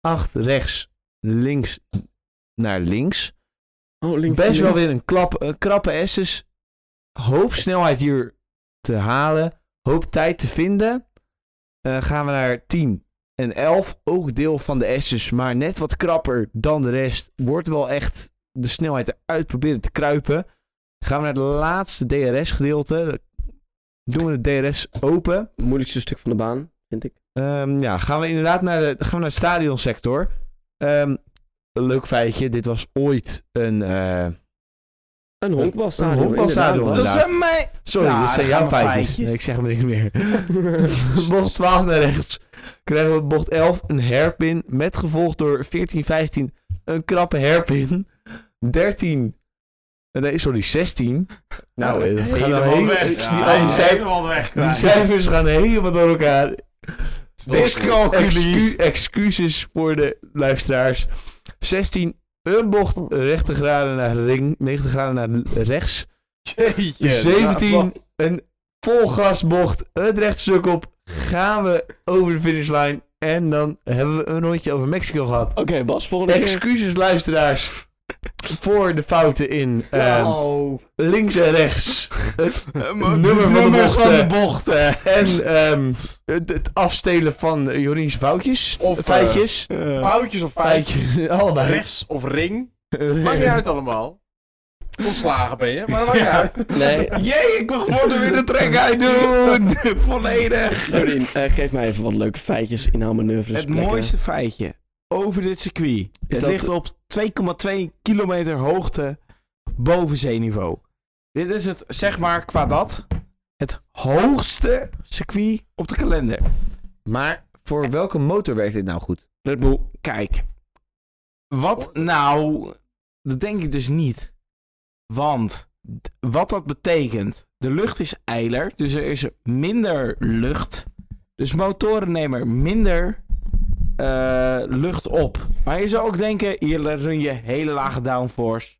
B: 8 rechts, links naar links.
A: Oh, links.
B: Best wel weer een, klap, een krappe S's. Hoop snelheid hier te halen. Hoop tijd te vinden. Eh, gaan we naar 10 en 11. Ook deel van de S's, maar net wat krapper dan de rest. Wordt wel echt de snelheid eruit proberen te kruipen. Gaan we naar de laatste DRS-gedeelte. Doen we de DRS open.
A: Het moeilijkste stuk van de baan, vind ik.
B: Ehm, ja, gaan we inderdaad naar de, gaan we naar het stadionsector. Ehm, een leuk feitje. Dit was ooit een... eh,
A: Een honkbalstadion.
B: Een honkbalstadion,
A: inderdaad,
C: Dat
A: Bas.
B: inderdaad.
C: zijn mij.
B: Sorry,
C: Ja,
B: dit
C: daar
B: zijn
C: gaan
B: jouw
C: we
B: feitjes.
C: feitjes.
B: Nee, ik zeg maar niks meer. bocht 12 naar rechts. Krijgen we bocht 11 een herpin. Met gevolgd door 14, 15 een krappe herpin. 13. Nee, sorry, 16. Nou, eh, dat gaat nou heel- die, al die, cij-
C: weg.
B: die cijfers gaan helemaal door elkaar. Excu- excuses voor de luisteraars. 16. Een bocht rechte graden naar ring, 90 graden naar rechts. 17, een vol gasbocht, het rechtstuk op. Gaan we over de finishlijn En dan hebben we een rondje over Mexico gehad.
A: Oké, Bas, volgende keer.
B: Excuses, luisteraars. Voor de fouten in ehm,
A: Oh.
B: links en rechts. Het nummer van de
C: nummers
B: bocht,
C: van de
B: eh.
C: bochten.
B: en ehm, het, het afstelen van Jorins foutjes.
D: Of, eh,
B: feitjes.
D: Foutjes of
B: feitjes. Allebei.
D: Rechts of ring. Maakt niet uit allemaal. Ontslagen ben je, maar dat maakt niet uit.
A: Nee,
C: Jee, ik ben gewoon weer de trek uit doen. Volledig.
A: Jorien, eh, geef mij even wat leuke feitjes inhaalmanoeuvres.
C: Het
A: plekken.
C: mooiste feitje over dit circuit. het
A: dat-
C: ligt op 2,2 kilometer hoogte boven zeeniveau. Dit is het, zeg maar, qua dat, het hoogste circuit op de kalender.
B: Maar voor welke motor werkt dit nou goed?
C: Red Bull, kijk. Wat nou? Dat denk ik dus niet. Want d- wat dat betekent, de lucht is eiler, dus er is minder lucht. Dus motoren nemen er minder eh, lucht op. Maar je zou ook denken, hier run je hele lage downforce.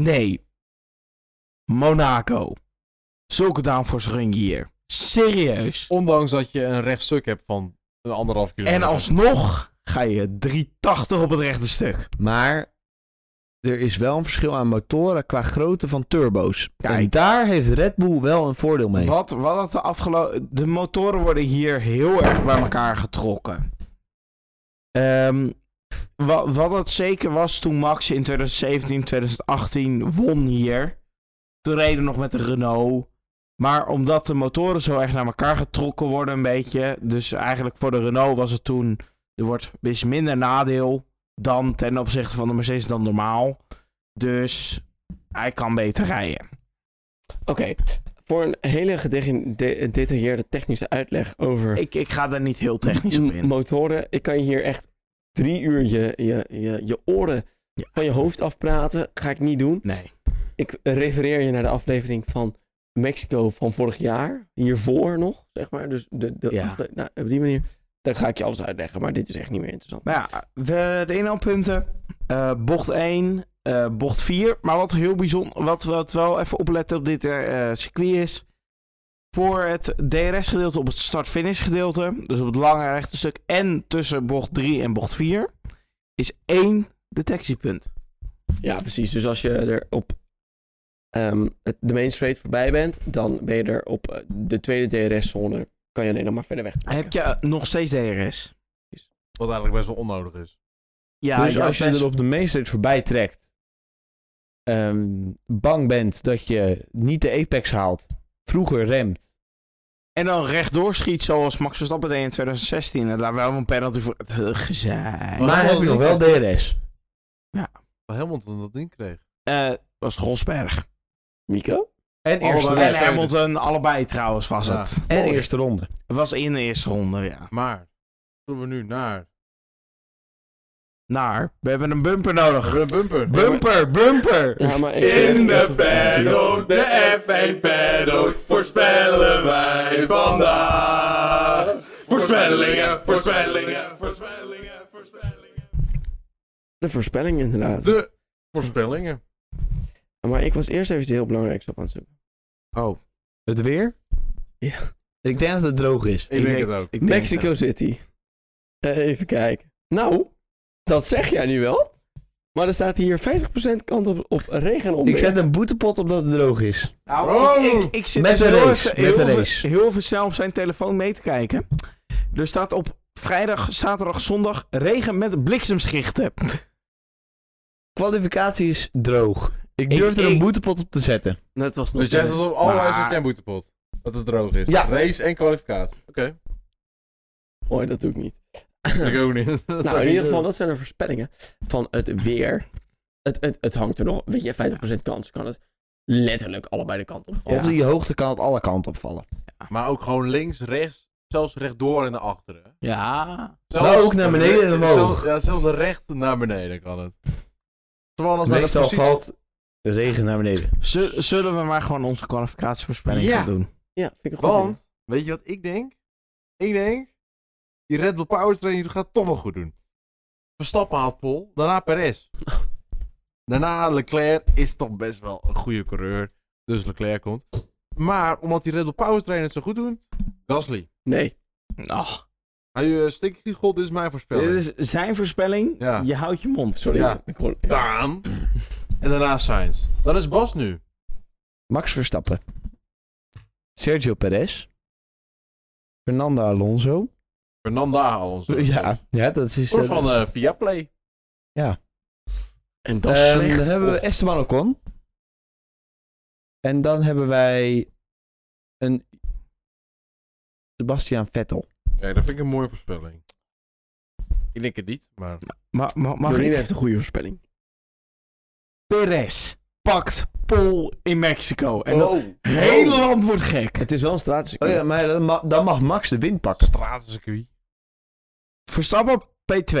C: Nee. Monaco. Zulke downforce run je hier. Serieus.
D: Ondanks dat je een rechtstuk hebt van een anderhalf kilometer.
C: En alsnog ga je 380 op het rechte stuk.
B: Maar er is wel een verschil aan motoren qua grootte van turbo's. En
C: Kijk.
B: daar heeft Red Bull wel een voordeel mee.
C: Wat, wat het de afgelopen. De motoren worden hier heel erg bij elkaar getrokken. Ehm, wa- wat het zeker was toen Max in 2017, 2018 won hier. Toen reden we nog met de Renault. Maar omdat de motoren zo erg naar elkaar getrokken worden, een beetje. Dus eigenlijk voor de Renault was het toen. Er wordt is minder nadeel dan ten opzichte van de Mercedes dan normaal. Dus hij kan beter rijden.
A: Oké, voor een hele gedetailleerde technische uitleg over
C: Ik, ik ga daar niet heel technisch op
A: m-
C: in.
A: motoren, ik kan je hier echt drie uur je, je, je, je oren
C: Ja.
A: van je hoofd afpraten. Ga ik niet doen.
C: Nee.
A: Ik refereer je naar de aflevering van Mexico van vorig jaar. Hiervoor nog, zeg maar. Dus de, de
C: Ja.
A: afle- nou, op die manier. Dan ga ik je alles uitleggen, maar dit is echt niet meer interessant.
C: Maar ja, we, de inhaalpunten. eh, bocht 1, eh, bocht 4. Maar wat heel bijzonder, wat, wat wel even opletten op dit eh, eh, circuit is. Voor het DRS-gedeelte op het start-finish gedeelte, dus op het lange rechte stuk en tussen bocht 3 en bocht 4, is één detectiepunt.
A: Ja, precies. Dus als je er op ehm, het, de main straight voorbij bent, dan ben je er op eh, de tweede DRS-zone. Kan je alleen nog maar verder weg.
C: Heb je eh, nog steeds DRS?
D: Wat eigenlijk best wel onnodig is.
C: Ja,
B: dus
C: ja,
B: als je
C: best-
B: er op de mainstage voorbij trekt, ehm, bang bent dat je niet de apex haalt, vroeger remt.
C: En dan rechtdoor schiet zoals Max Verstappen deed in 2016. En daar wel een penalty voor het gezegd.
D: Maar
B: maar
D: wel
B: heb je nog wel DRS.
D: Maar helemaal toen dat ding kreeg.
C: Eh, was Rosberg.
A: Mico?
B: En eerste,
D: Allebei.
B: ronde.
C: En Hamilton, allebei trouwens was
D: Ja.
C: het.
B: en eerste ronde.
C: Het was in de eerste ronde, ja.
D: Maar, doen we nu naar...
C: Naar, we hebben een bumper nodig.
D: Run bumper.
C: Bumper, bumper!
A: Ja, maar
F: In de paddock, de F1 paddock, voorspellen wij vandaag. Voorspellingen, voorspellingen, voorspellingen, voorspellingen.
A: De voorspelling inderdaad.
D: De voorspellingen.
A: Maar ik was eerst even iets heel belangrijks op aan het zoeken.
C: Oh,
B: Het weer?
A: Ja.
B: Ik denk dat het droog is.
D: Ik denk het ook.
C: ik denk
A: Mexico City. Eh, Even kijken. Nou, dat zeg jij nu wel. Maar er staat hier 50% kans op, op regen om.
B: Ik zet een boetepot op dat het droog is.
C: Nou,
D: Oh!
C: ik, ik, ik zit
B: Met
C: dus
B: de
C: heel,
B: race,
C: even-
B: met
C: heel,
B: de
C: even-
B: race.
C: heel even snel op zijn telefoon mee te kijken. Er staat op vrijdag, zaterdag, zondag regen met bliksemschichten.
B: Kwalificatie is droog. Ik
C: Ik-
B: durf er een
C: ik-
B: boetepot op te zetten.
A: Dat was nog
D: Dus jij zat op allerlei
C: Maar-
D: zijn kenboetepot. Dat het droog is.
B: Ja.
D: Race en kwalificatie. Oké.
A: Mooi, dat doe ik niet.
D: Ik ook niet. Dat
A: nou,
D: zou ik
A: in ieder
D: niet
A: geval,
D: doen.
A: dat zijn de voorspellingen van het weer. Het, het, het hangt er nog. Weet je, 50% kans kan het letterlijk allebei de kant op. vallen.
B: Op die hoogte kan het alle kanten opvallen.
D: Maar ook gewoon links, rechts, zelfs rechtdoor en naar achteren.
C: Ja.
B: Maar ook naar beneden en omhoog.
D: Zelfs, ja, zelfs recht naar beneden kan het. Terwijl als naar de
B: Meestal
D: positie-
B: valt regen naar beneden.
C: Zullen we maar gewoon onze kwalificatievoorspelling
D: Ja.
C: gaan doen?
A: Ja, vind ik een goed idee.
D: Want, weet je wat ik denk? Ik denk, die Red Bull Powertrain die gaat het toch wel goed doen. Verstappen haalt Pol, daarna Perez. Daarna Leclerc is toch best wel een goede coureur. Dus Leclerc komt. Maar omdat die Red Bull Powertrain het zo goed doet, Gasly.
A: Nee.
C: Ach,
D: Hij uh, stinkt dit is mijn voorspelling.
C: Dit is zijn voorspelling.
D: Ja.
C: Je houdt je mond.
A: Sorry,
D: Ja.
A: ik kon...
D: Daan. En daarna Sainz. Dat is Bas nu.
B: Max Verstappen. Sergio Perez. Fernando Alonso.
D: Fernanda Alonso.
B: Ja, ja dat is...
D: Voor
B: eh,
D: van eh Viaplay.
A: En dat is
B: Ehm,
A: slecht.
B: dan hebben we Esteban Ocon. En dan hebben wij een Sebastian Vettel.
D: Kijk, dat vind ik een mooie voorspelling. Ik denk het niet, maar...
C: Ma ma mag
A: Jorien
C: ik?
A: heeft een goede voorspelling.
C: Perez pakt Pol in Mexico.
D: Oh.
C: En dat hele land wordt gek.
A: Het is wel een straatcircuit.
B: Oh ja, maar dan, ma- dan mag Max de win pakken.
D: Stratencircuit.
C: Verstappen P2.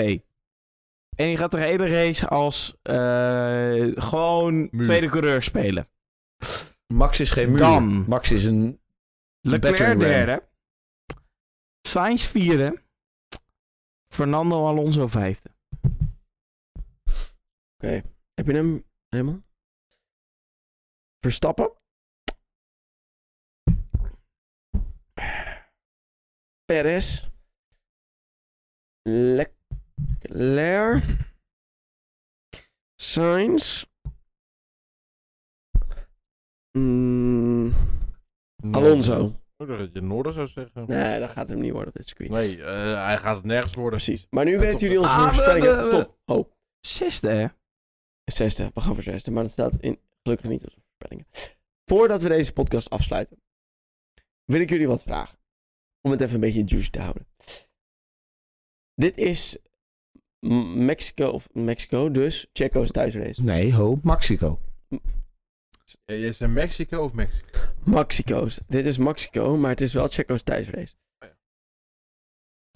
C: En die gaat de hele race als eh, gewoon
D: Muur.
C: tweede coureur spelen.
B: Max is geen muur.
C: Dan.
B: Max is een...
C: Leclerc
B: battering ram.
C: derde. Sainz vierde. Fernando Alonso vijfde.
A: Heb je hem helemaal? Verstappen? Perez. Leclerc. Sainz. Mm, Alonso.
D: Ik dacht dat je Noorden zou zeggen.
A: Nee, dat gaat hem niet worden, dit circuit.
D: Nee, eh, hij gaat het nergens worden.
A: Precies. Maar
D: Ja,
A: nu weten
D: top.
A: jullie onze
C: Ah, we-
A: voorspellingen.
C: we- we-
A: Stop. Oh.
C: Zesde, hè?
A: Zesde, we gaan voor zesde, maar dat staat in, gelukkig niet op de voorspellingen. Voordat we deze podcast afsluiten, wil ik jullie wat vragen. Om het even een beetje juicy te houden. Dit is M- Mexico, of Mexico, dus Checo's thuisrace.
B: Nee, ho, Mexico.
D: Eh, Is het Mexico of Mexico?
A: Maxico's. Dit is Maxico, maar het is wel Checo's thuisrace.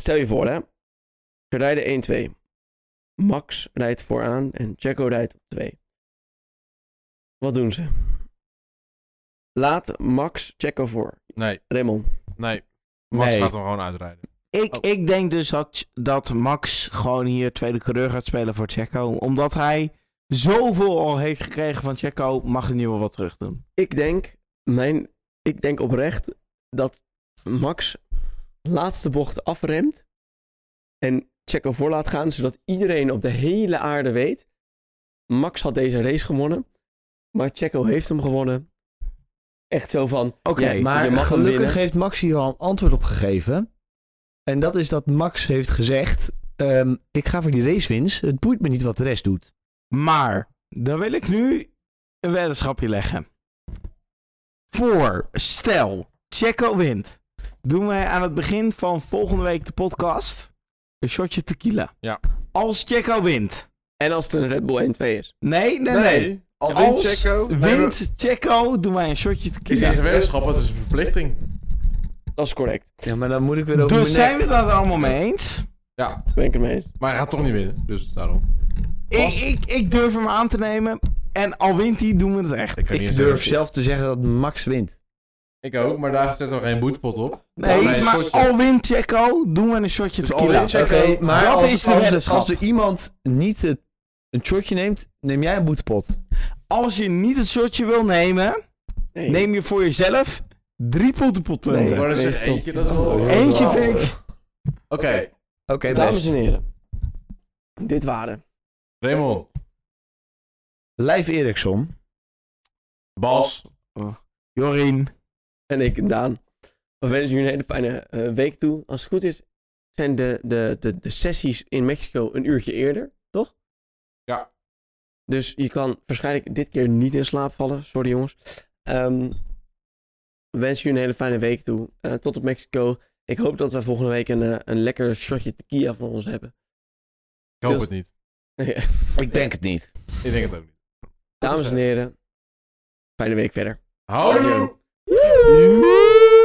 A: Stel je voor, hè. Ze rijden 1-2. Max rijdt vooraan en Checo rijdt op 2. Wat doen ze? Laat Max Checo voor.
D: Nee,
A: Raymond.
D: nee. Max
B: Nee.
D: gaat hem gewoon uitrijden.
C: Ik,
D: Oh.
C: ik denk dus dat, dat Max gewoon hier tweede coureur gaat spelen voor Checo. Omdat hij zoveel al heeft gekregen van Checo, mag hij nu wel wat terug doen.
A: Ik denk, mijn, ik denk oprecht dat Max laatste bocht afremt en Checo voor laat gaan, zodat iedereen op de hele aarde weet. Max had deze race gewonnen, maar Checo heeft hem gewonnen. Echt zo van, oké,
C: Ja,
B: Maar
A: je mag hem winnen.
B: gelukkig heeft Max hier al een antwoord op gegeven. En dat is dat Max heeft gezegd... ehm, ik ga voor die racewins. Het boeit me niet wat de rest doet.
C: Maar, dan wil ik nu een weddenschapje leggen. Voor, stel, Checo wint. Doen wij aan het begin van volgende week de podcast een shotje tequila.
D: Ja.
C: Als Checo wint.
A: En als het een Red Bull 1-2 is.
C: Nee, nee, nee.
D: Al wint
C: Als
D: Checo...
C: wint Checo, doen wij een shotje
D: is
C: tequila.
D: deze weddenschap, het is een verplichting.
A: Dat is correct.
B: Ja, maar dan moet ik weer over
C: Dus
B: mijn
C: zijn we dat allemaal mee eens?
D: Ja,
A: Ben ik het mee eens.
D: maar hij gaat toch niet winnen, dus daarom.
C: Ik, ik, ik durf hem aan te nemen. En al wint hij, doen we het echt.
D: kan niet
B: Ik
D: eens
B: durf
D: zeggen.
B: zelf te zeggen dat Max wint.
D: Ik ook, maar daar zetten we geen boetepot op.
C: Nee,
D: Nee,
C: maar
D: shotje.
C: al wint Checo, doen we een shotje
D: Dus al
C: tequila.
D: wint Checo. Oké,
B: maar
C: dat
B: als,
C: is de
B: als,
C: weddenschap.
B: als er iemand niet het, een shotje neemt, neem jij een boetepot.
C: Als je niet het shotje wil nemen,
A: Nee.
C: neem je voor jezelf drie pottenpotpunten.
A: Nee.
D: Maar er
A: nee,
D: is
A: stop.
D: eentje, dat is wel...
A: Oh,
C: Eentje vind ik...
D: Oké,
B: Oké,
A: Dames
B: best.
A: en heren, dit waren
D: Raymond,
B: Lijf Eriksson.
D: Bas,
C: Jorien.
A: en ik, Daan. We wensen jullie een hele fijne eh, week toe. Als het goed is, zijn de, de, de, de sessies in Mexico een uurtje eerder, toch?
D: Ja.
A: Dus je kan waarschijnlijk dit keer niet in slaap vallen. Sorry jongens. Ehm we wensen jullie een hele fijne week toe. Eh, tot op Mexico. Ik hoop dat we volgende week een, eh, een lekker shotje tequila van ons hebben.
D: ik hoop het niet.
B: Ik denk het niet.
D: Ik denk het ook niet.
A: Dames en heren, fijne week verder.
D: Houdoe!
A: Woe!